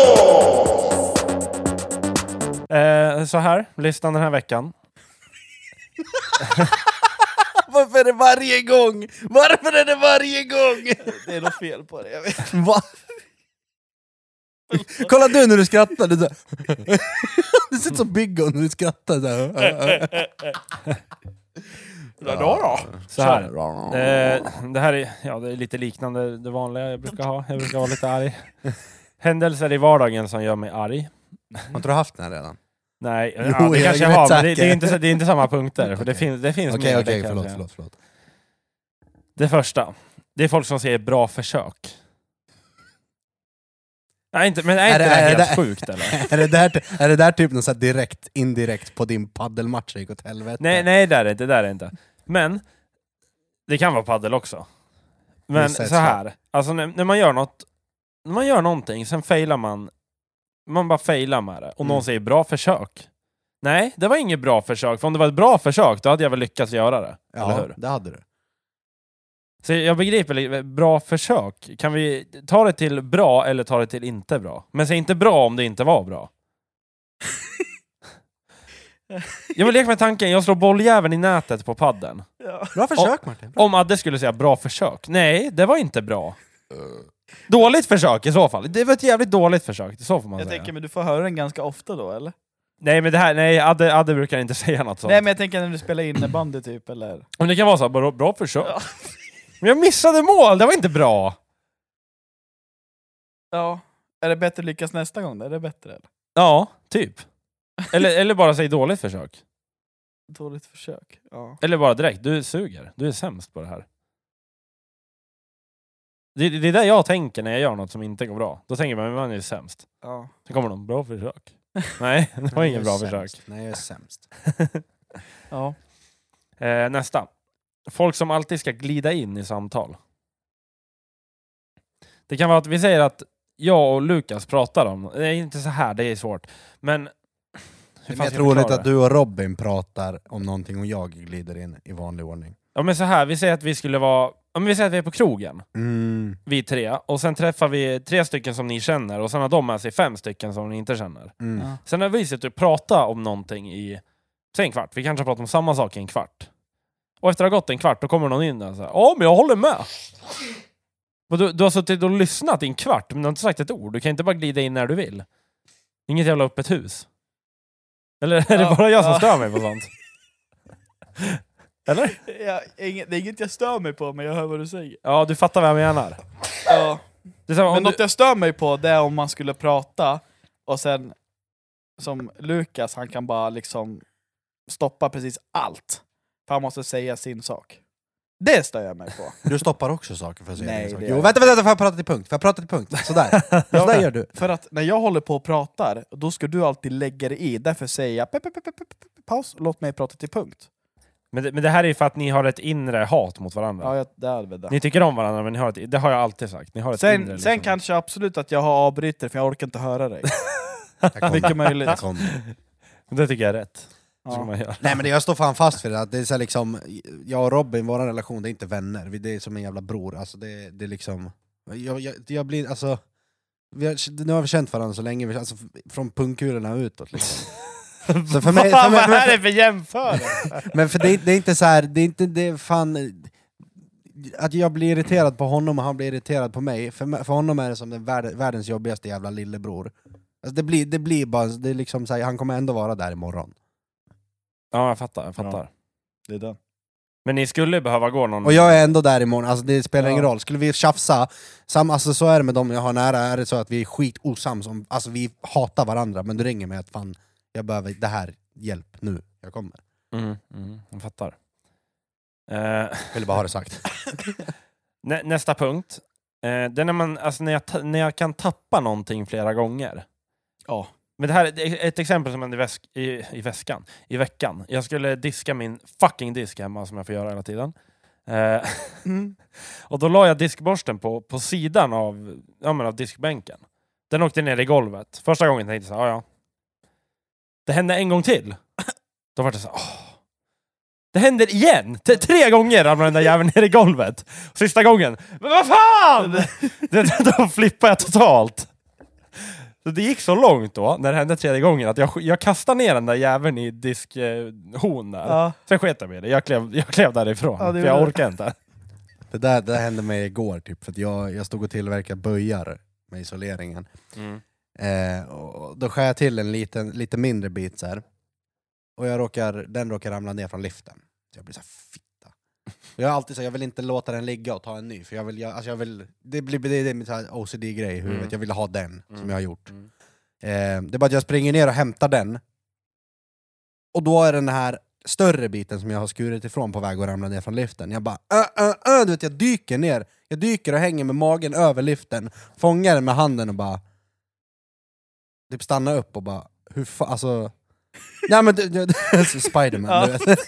Speaker 3: Eh, så här, listan den här veckan.
Speaker 1: Varför är det varje gång? Varför är det varje gång?
Speaker 2: Det är något fel på det, jag vet.
Speaker 1: Va? Kolla du när du skrattar, du, så- du ser ut som Biggo när du skrattar. Så här.
Speaker 2: Ja, då då.
Speaker 3: Så här. Eh, det här är, ja, det är lite liknande det vanliga jag brukar ha. Jag brukar vara lite arg. Händelser i vardagen som gör mig arg.
Speaker 1: Har inte du haft den här redan?
Speaker 3: Nej,
Speaker 1: Jo,
Speaker 3: ja, det
Speaker 1: jag
Speaker 3: kanske jag
Speaker 1: vet
Speaker 3: har, men det, det,
Speaker 1: säkert.
Speaker 3: är inte, det är inte samma punkter. För det
Speaker 1: Okej.
Speaker 3: finns, det finns
Speaker 1: Okej, okej,
Speaker 3: mer, det kan jag
Speaker 1: förlåt,
Speaker 3: säga.
Speaker 1: förlåt, förlåt.
Speaker 3: Det första, det är folk som säger bra försök. Nej, inte, men är, inte det,
Speaker 1: är
Speaker 3: helt
Speaker 1: det-
Speaker 3: sjukt eller?
Speaker 1: Är det där, är det där typ något så här direkt, indirekt på din paddelmatch gick åt helvete?
Speaker 3: nej, nej, det där är det inte. Det där är det inte. Men, det kan vara paddel också. Men
Speaker 1: Missa ett
Speaker 3: så här, alltså när, när man gör något, när man gör någonting, sen failar man, man bara failar med det, och någon
Speaker 1: Mm.
Speaker 3: säger bra försök. Nej, det var inget bra försök, för om det var ett bra försök, då hade jag väl lyckats göra det. eller
Speaker 1: Ja,
Speaker 3: hur?
Speaker 1: det hade du.
Speaker 3: Så jag begriper, li- bra försök. Kan vi ta det till bra eller ta det till inte bra? Men säg inte bra om det inte var bra. Jag vill leka med tanken, jag slår bolljäveln i nätet på padden.
Speaker 2: Ja.
Speaker 1: Bra försök Martin.
Speaker 3: Om Adde skulle säga bra försök. Nej, det var inte bra.
Speaker 1: Eh.
Speaker 3: Dåligt försök i så fall. Det var ett jävligt dåligt försök, så får man
Speaker 2: Jag
Speaker 3: säga.
Speaker 2: tänker, men du får höra den ganska ofta då eller?
Speaker 3: Nej men det här, nej Adde, Adde brukar inte säga något sånt.
Speaker 2: Nej men jag tänker när du spelar innebandy typ, eller?
Speaker 3: Men det kan vara så här, bra, bra försök.
Speaker 2: Ja.
Speaker 3: Men jag missade mål, det var inte bra!
Speaker 2: Ja. Är det bättre lyckas nästa gång då? Är det bättre eller?
Speaker 3: Ja, typ. Eller, eller bara säg dåligt försök.
Speaker 2: Dåligt försök. Ja.
Speaker 3: Eller bara direkt, du suger. Du är sämst på det här. Det, det är det jag tänker när jag gör något som inte går bra. Då tänker man, men man är ju sämst.
Speaker 2: ja.
Speaker 3: Sen kommer någon, bra försök. Nej, det var ingen bra försök.
Speaker 1: Nej, jag är sämst.
Speaker 2: ja.
Speaker 3: Eh, nästa. Folk som alltid ska glida in i samtal. Det kan vara att vi säger att jag och Lukas pratar om... Det är inte så här, det är svårt. Men...
Speaker 1: Det är
Speaker 3: fan
Speaker 1: mer
Speaker 3: ska jag förklara
Speaker 1: troligt
Speaker 3: det?
Speaker 1: att du och Robin pratar om någonting och jag glider in i vanlig ordning.
Speaker 3: Ja men så här, vi säger att vi skulle vara... Ja, men vi säger att vi är på krogen,
Speaker 1: Mm.
Speaker 3: vi tre. Och sen träffar vi tre stycken som ni känner och sen har de med sig fem stycken som ni inte känner.
Speaker 1: Mm.
Speaker 2: Ja.
Speaker 3: Sen har vi suttit och pratat om någonting i... Säg en kvart, vi kanske har pratat om samma sak i en kvart. Och efter att ha gått en kvart, då kommer någon in där och säger Ja, men jag håller med! Och du, du har suttit och lyssnat i en kvart, men du har inte sagt ett ord. Du kan inte bara glida in när du vill. Inget jävla öppet hus. Eller är det
Speaker 2: Ja,
Speaker 3: bara jag som
Speaker 2: ja.
Speaker 3: stör mig på sånt? Eller?
Speaker 2: Ja, inget, det är inget jag stör mig på, men jag hör vad du säger.
Speaker 3: Ja, du fattar vad jag menar.
Speaker 2: Ja.
Speaker 3: Det är så här, om
Speaker 2: Men
Speaker 3: du-
Speaker 2: något jag stör mig på, det är om man skulle prata, och sen som Lukas, han kan bara liksom stoppa precis allt. För han måste säga sin sak. Det stör jag mig på.
Speaker 1: Du stoppar också saker för att säga
Speaker 2: Nej,
Speaker 1: din sak.
Speaker 2: det gör
Speaker 1: Jo,
Speaker 2: jag
Speaker 1: vänta, vänta, får jag prata till punkt? Får jag prata till punkt? Sådär. Sådär gör du.
Speaker 2: För att när jag håller på och pratar, då ska du alltid lägga dig i. Därför säger jag "Pep, pep, pep, pep, pep, pep, paus, låt mig prata till punkt.
Speaker 3: Men det, men det här är ju för att ni har ett inre hat mot varandra.
Speaker 2: Ja, jag, det är väl det.
Speaker 3: Ni tycker om varandra, men ni har ett, det har jag alltid sagt. Ni har ett
Speaker 2: Sen,
Speaker 3: inre,
Speaker 2: sen
Speaker 3: liksom.
Speaker 2: kanske absolut att jag har avbryter för jag orkar inte höra dig. Mycket möjligt.
Speaker 1: Jag kommer.
Speaker 3: Det tycker jag är rätt. Det ska
Speaker 2: Ja.
Speaker 3: man göra.
Speaker 1: Nej men det, jag står fan fast vid det, att det är så här liksom, jag och Robin, vår relation, det är inte vänner, Vi- det är som en jävla bror, alltså det, det är liksom... Jag, jag, jag blir, alltså, vi har, nu har vi känt varandra så länge, vi- alltså, f- från pungkulorna utåt liksom. Så för mig, för
Speaker 3: Fan,
Speaker 1: mig,
Speaker 3: vad
Speaker 1: men,
Speaker 3: är det för jämförelse?
Speaker 1: men för det, det är inte så här, det är inte, det är fan... Att jag blir irriterad på honom och han blir irriterad på mig, för, mig- för honom är det som den värld, världens jobbigaste jävla lillebror. Alltså det, blir, det blir bara, det är liksom så här, han kommer ändå vara där imorgon.
Speaker 3: ja, jag fattar. Jag fattar.
Speaker 2: Det är den.
Speaker 3: Men ni skulle behöva gå någon...
Speaker 1: Och jag är ändå där imorgon, alltså det spelar ingen
Speaker 2: Ja.
Speaker 1: roll. Skulle vi tjafsa, sam, alltså så är det med dem jag har nära, är det så att vi är skit osams, om, alltså vi hatar varandra, men du ringer mig att fan, jag behöver det här, hjälp nu, jag kommer.
Speaker 3: Mm, mm, jag fattar. Eh,
Speaker 1: Ville bara ha det sagt.
Speaker 3: nä, nästa punkt. Eh, det är när, man, alltså när, jag ta, när jag kan tappa någonting flera gånger.
Speaker 2: Ja.
Speaker 3: Men det här är det är ett exempel som hände i, väsk, i, i väskan, i veckan. Jag skulle diska min fucking disk hemma som jag får göra hela tiden. Eh, Och då la jag diskborsten på, på sidan av, ja, men av diskbänken. Den åkte ner i golvet. Första gången tänkte jag så här, "Ja, ja. Det hände en gång till. Då var det så här, åh. Det händer igen! T- tre gånger ramlar den där jäveln ner i golvet. Sista gången, men vad fan! Det, då flippade jag totalt. Så det gick så långt då, när det hände tredje gången, att jag, sk- jag kastade ner den där jäveln i diskhon där.
Speaker 2: Ja.
Speaker 3: Sen sket jag med det. Jag klev, jag klev därifrån,
Speaker 2: Ja, det
Speaker 3: för
Speaker 2: gjorde
Speaker 3: jag
Speaker 2: du.
Speaker 3: orkade inte.
Speaker 1: Det där, det där hände mig igår, typ, för att jag, jag stod och tillverkade böjar med isoleringen. Eh, och då skär jag till en liten, lite mindre bit så här. och jag råkar, den råkar ramla ner från liften. Så jag blir så här, fitta. Och Jag, är alltid så, här, jag vill inte låta den ligga och ta en ny, för jag vill, jag, alltså jag vill, det blir det är min så här OCD-grej i huvudet,
Speaker 3: Mm.
Speaker 1: jag vill ha den som
Speaker 3: Mm.
Speaker 1: jag har gjort.
Speaker 3: Mm.
Speaker 1: Eh, det är bara att jag springer ner och hämtar den, och då är den här större biten som jag har skurit ifrån på väg att ramla ner från liften. Jag bara äh, äh, äh, du vet jag dyker ner, jag dyker och hänger med magen över liften, fångar den med handen och bara typ stannar upp och bara hur fan, alltså Nej men du, du, alltså, Spiderman du vet.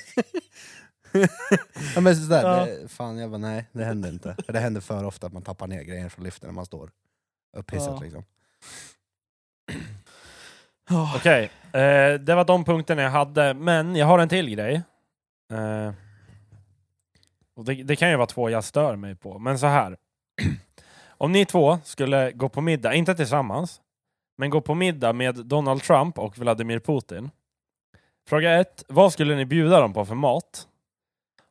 Speaker 1: ja, men sådär,
Speaker 2: Ja.
Speaker 1: det, fan jag bara nej det händer inte. För det händer för ofta att man tappar ner grejer från liften när man står upphissat
Speaker 2: Ja.
Speaker 1: liksom.
Speaker 2: Ja.
Speaker 3: Okej, eh, det var de punkterna jag hade, men jag har en till grej. Eh, och det, det kan ju vara två jag stör mig på, men så här. Om ni två skulle gå på middag, inte tillsammans, men gå på middag med Donald Trump och Vladimir Putin. Fråga ett, vad skulle ni bjuda dem på för mat?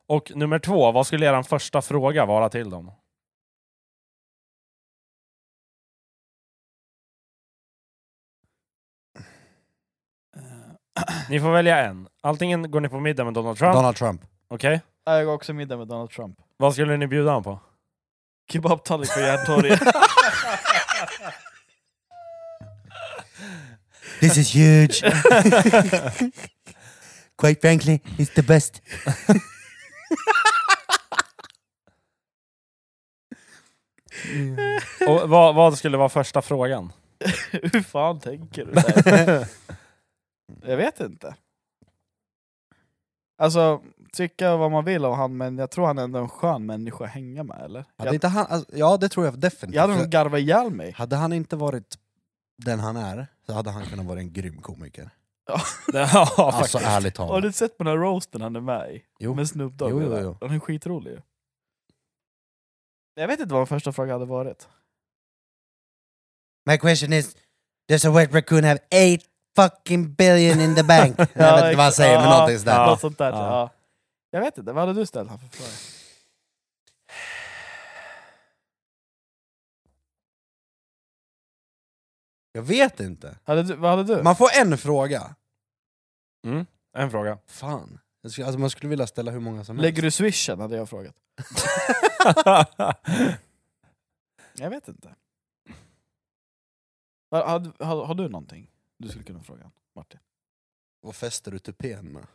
Speaker 3: Och nummer två, vad skulle er första fråga vara till dem? Ni får välja en. Antingen går ni på middag med Donald Trump,
Speaker 1: Donald Trump.
Speaker 3: okej?
Speaker 2: Ja, Jag går också middag med Donald Trump.
Speaker 3: Vad skulle ni bjuda honom på?
Speaker 2: Kebabtallrik på Järntorget.
Speaker 1: This is huge! Quite frankly, it's the best.
Speaker 3: Och vad, vad skulle vara första frågan?
Speaker 2: Hur fan tänker du där? jag vet inte. Alltså, tycka vad man vill om han, men jag tror han är ändå en skön människa att hänga med, eller?
Speaker 1: Hade
Speaker 2: Jag,
Speaker 1: inte han, alltså, ja, det tror jag definitivt.
Speaker 2: jag hade nog garvat ihjäl mig.
Speaker 1: Hade han inte varit den han är, så hade han kunnat vara en grym komiker.
Speaker 3: ja,
Speaker 1: alltså
Speaker 3: faktiskt.
Speaker 1: ärligt
Speaker 2: Har
Speaker 1: talat.
Speaker 2: du sett på den här roasten han är med i?
Speaker 1: Jo.
Speaker 2: Med Snoop Dogg?
Speaker 1: Jo, jo,
Speaker 2: och det där.
Speaker 1: jo.
Speaker 2: Han är skitrolig ju. Jag vet inte vad min första fråga hade varit.
Speaker 1: My question is, does a wet raccoon have eight fucking billion in the bank? jag vet inte vad han
Speaker 2: ex-
Speaker 1: säger, men
Speaker 2: ja,
Speaker 1: någonting sådär.
Speaker 2: Något sånt där.
Speaker 3: Ja.
Speaker 2: Ja. Jag vet inte, vad hade du ställt han för fråga?
Speaker 1: Jag vet inte.
Speaker 2: Hade du, vad hade du?
Speaker 1: Man får en fråga.
Speaker 3: Mm, en fråga.
Speaker 1: Fan. Jag skulle- Alltså, man skulle vilja ställa hur många som helst.
Speaker 2: Lägger du swishen hade jag frågat. Jag vet inte. Har, har, har, har du någonting du skulle kunna fråga Martin?
Speaker 1: Vad fäster du tupén med?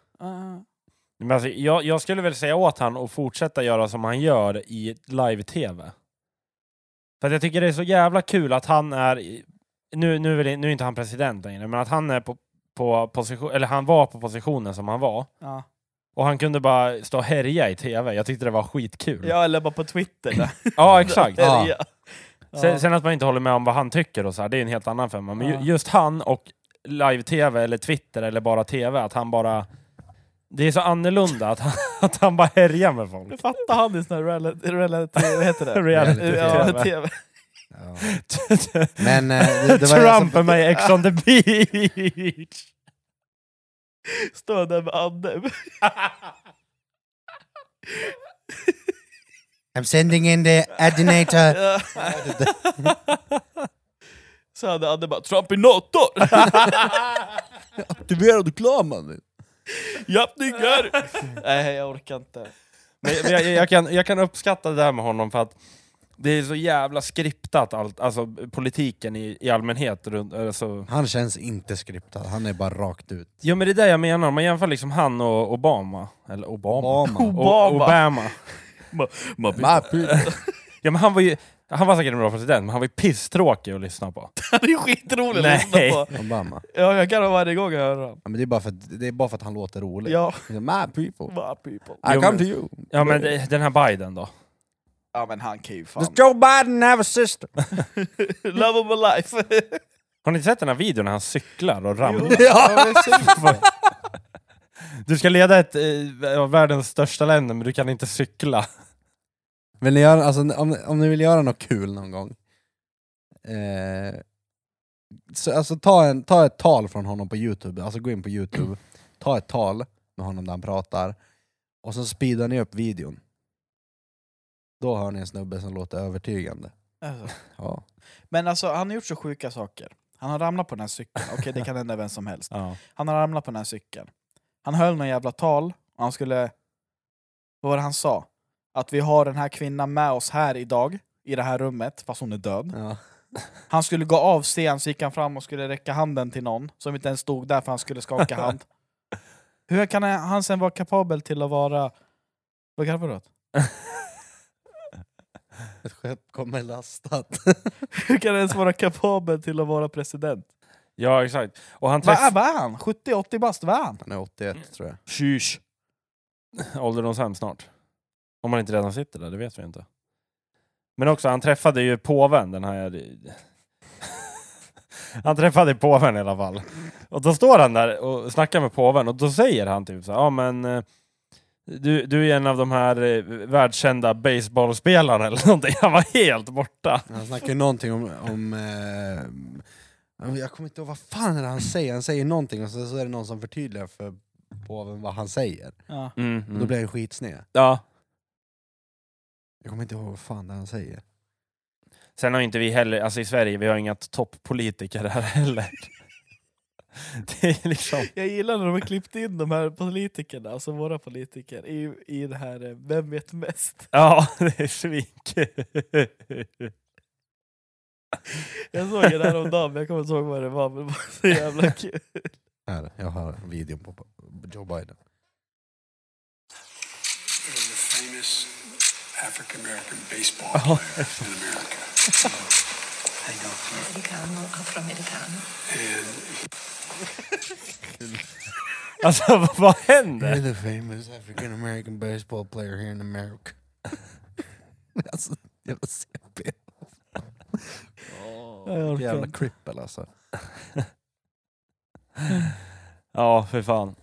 Speaker 3: Men alltså, jag, jag skulle väl säga åt han att fortsätta göra som han gör i live-tv. För att jag tycker det är så jävla kul att han är, i- nu, nu, är, det, nu är inte han president längre, men att han är på, på position, eller han var på positionen som han var.
Speaker 2: ja.
Speaker 3: Och han kunde bara stå och härja i tv. Jag tyckte det var skitkul.
Speaker 2: ja, eller bara på Twitter. där.
Speaker 3: Ja, exakt.
Speaker 1: Ja.
Speaker 2: Ja.
Speaker 3: Sen, sen att man inte håller med om vad han tycker och så här, det är en helt annan femma. Men
Speaker 2: Ja.
Speaker 3: ju, just han och live-tv eller Twitter eller bara tv, att han bara... Det är så annorlunda att han, att han bara härjar med folk.
Speaker 2: Jag fattar han i sån här reality, reality vad heter det?
Speaker 3: Reality
Speaker 2: ja,
Speaker 3: TV.
Speaker 2: TV.
Speaker 1: Ja. Men eh, det, det var
Speaker 3: Trump är
Speaker 1: alltså,
Speaker 3: med i Ex on the beach!
Speaker 2: Står där med Anne.
Speaker 1: I'm sending in the adinator.
Speaker 2: Ja. Så hade Anne bara Trumpinator!
Speaker 1: Aktiverad och klar mannen.
Speaker 2: Japp nigger! Nej jag orkar inte.
Speaker 3: Men jag- men jag, jag, kan, jag kan uppskatta det där med honom för att det är så jävla skriptat, allt, alltså politiken i, i allmänhet. Runt, alltså,
Speaker 1: Han känns inte skriptad, han är bara rakt ut.
Speaker 3: Ja men det är det jag menar, om man jämför liksom han och Obama. Eller Obama.
Speaker 1: Obama.
Speaker 3: O- Obama.
Speaker 1: My people.
Speaker 3: Ja men han var ju, han var säkert en bra president, men han var ju pisstråkig att lyssna på.
Speaker 2: Han är skitrolig
Speaker 3: Nej.
Speaker 2: att lyssna på.
Speaker 1: Obama.
Speaker 2: Ja, jag garvar varje gång jag hör honom.
Speaker 1: Ja, men det, är bara för att, det är bara för att han låter rolig.
Speaker 2: Ja,
Speaker 1: My people.
Speaker 2: bara people.
Speaker 1: I
Speaker 3: Jo,
Speaker 1: come
Speaker 3: men-
Speaker 1: to you.
Speaker 3: Ja men det- den här Biden då?
Speaker 2: Ja men han kan ju fan...
Speaker 1: Does Joe Biden have a sister?
Speaker 2: Love of my life!
Speaker 3: Har ni sett den här videon när han cyklar och ramlar?
Speaker 2: ja.
Speaker 3: Du ska leda ett eh, av världens största länder men du kan inte cykla.
Speaker 1: Vill ni göra, alltså, om, om ni vill göra något kul någon gång, eh, så, alltså, ta, en, ta ett tal från honom på youtube, alltså gå in på youtube, ta ett tal med honom där han pratar, och så speedar ni upp videon. Då hör ni en snubbe som låter övertygande.
Speaker 2: Alltså.
Speaker 1: Ja.
Speaker 2: Men alltså han har gjort så sjuka saker. Han har ramlat på den här cykeln, okej det kan hända vem som helst.
Speaker 3: Ja.
Speaker 2: Han har ramlat på den här cykeln. Han höll någon jävla tal, och han skulle... Vad var det han sa? Att vi har den här kvinnan med oss här idag, i det här rummet, fast hon är död.
Speaker 1: Ja.
Speaker 2: Han skulle gå av scen, så gick han fram och skulle räcka handen till någon som inte ens stod där för han skulle skaka hand. Hur kan han sen vara kapabel till att vara... Vad garvar du åt?
Speaker 1: Ett skepp kommer lastat.
Speaker 2: Hur kan han ens vara kapabel till att vara president?
Speaker 3: ja exakt. Och han
Speaker 2: Vad är,
Speaker 3: träffade...
Speaker 2: vad är han? 70-80 bast? Vad är han?
Speaker 1: Han är 81 tror jag.
Speaker 3: Tjysch! Ålderdomshem snart. Om han inte redan sitter där, det vet vi inte. Men också, han träffade ju påven, den här... han träffade påven i alla fall. Och då står han där och snackar med påven och då säger han typ så här, ja men... eh, Du, du är en av de här eh, världskända baseballspelarna eller någonting. Han var helt borta.
Speaker 1: Han snackar ju någonting om... om eh, jag kommer inte ihåg vad fan är det han säger. Han säger någonting och så, så är det någon som förtydligar för påven vad han säger.
Speaker 2: Ja.
Speaker 3: Mm,
Speaker 1: Då
Speaker 3: mm.
Speaker 1: blir han skitsned.
Speaker 3: Ja.
Speaker 1: Jag kommer inte ihåg vad fan det är han säger.
Speaker 3: Sen har ju inte vi heller, alltså i Sverige, vi har inga toppolitiker här heller. Det är liksom...
Speaker 2: Jag gillar när de har klippt in de här politikerna, alltså våra politiker, i, i det här eh, Vem vet mest?
Speaker 3: Ja, det är svinkul.
Speaker 2: Jag såg det här om dagen, men jag kommer inte ihåg vad det var, men det var så jävla kul.
Speaker 1: Här, jag har videon på på Joe Biden.
Speaker 8: He was a famous African American baseball player in America. Hang on.
Speaker 9: Americano, afroamericano.
Speaker 3: Alltså vad- vad händer?
Speaker 1: You're the famous African American baseball player here in America. alltså, jävla CP.
Speaker 2: Jag orkar
Speaker 1: Jävla
Speaker 2: inte.
Speaker 1: cripple alltså.
Speaker 3: Ja, för fan.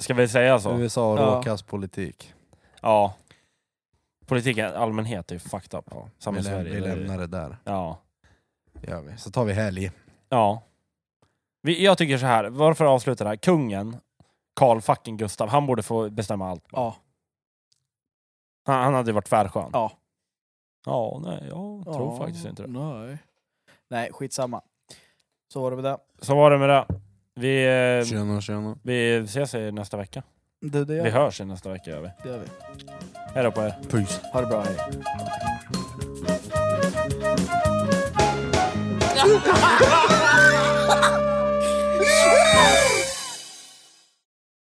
Speaker 3: Ska vi säga så?
Speaker 1: USA och
Speaker 2: Ja.
Speaker 1: råkass politik.
Speaker 3: Ja. Politiken i allmänhet är ju fucked up. Samma
Speaker 1: vi,
Speaker 3: i
Speaker 1: läm-
Speaker 3: Sverige.
Speaker 1: vi
Speaker 3: Det är-
Speaker 1: lämnar det där.
Speaker 3: Ja.
Speaker 1: Gör vi. Så tar vi helg.
Speaker 3: Ja. Vi, jag tycker så här, varför avsluta det här? Kungen, Karl fucking Gustav, han borde få bestämma allt. bara.
Speaker 2: Ja,
Speaker 3: Han, han hade ju varit tvärskön.
Speaker 2: ja.
Speaker 3: Ja, nej, jag tror faktiskt inte det.
Speaker 2: Nej. Nej, skitsamma. Så var det med det.
Speaker 3: Så var det med det. Vi, eh,
Speaker 1: Tjena tjena.
Speaker 3: vi ses i nästa vecka.
Speaker 2: Du, det
Speaker 3: Vi
Speaker 2: gör
Speaker 3: hörs i nästa vecka gör vi.
Speaker 2: det gör vi.
Speaker 3: Hej då på er.
Speaker 1: Puss.
Speaker 2: Ha det bra, hej.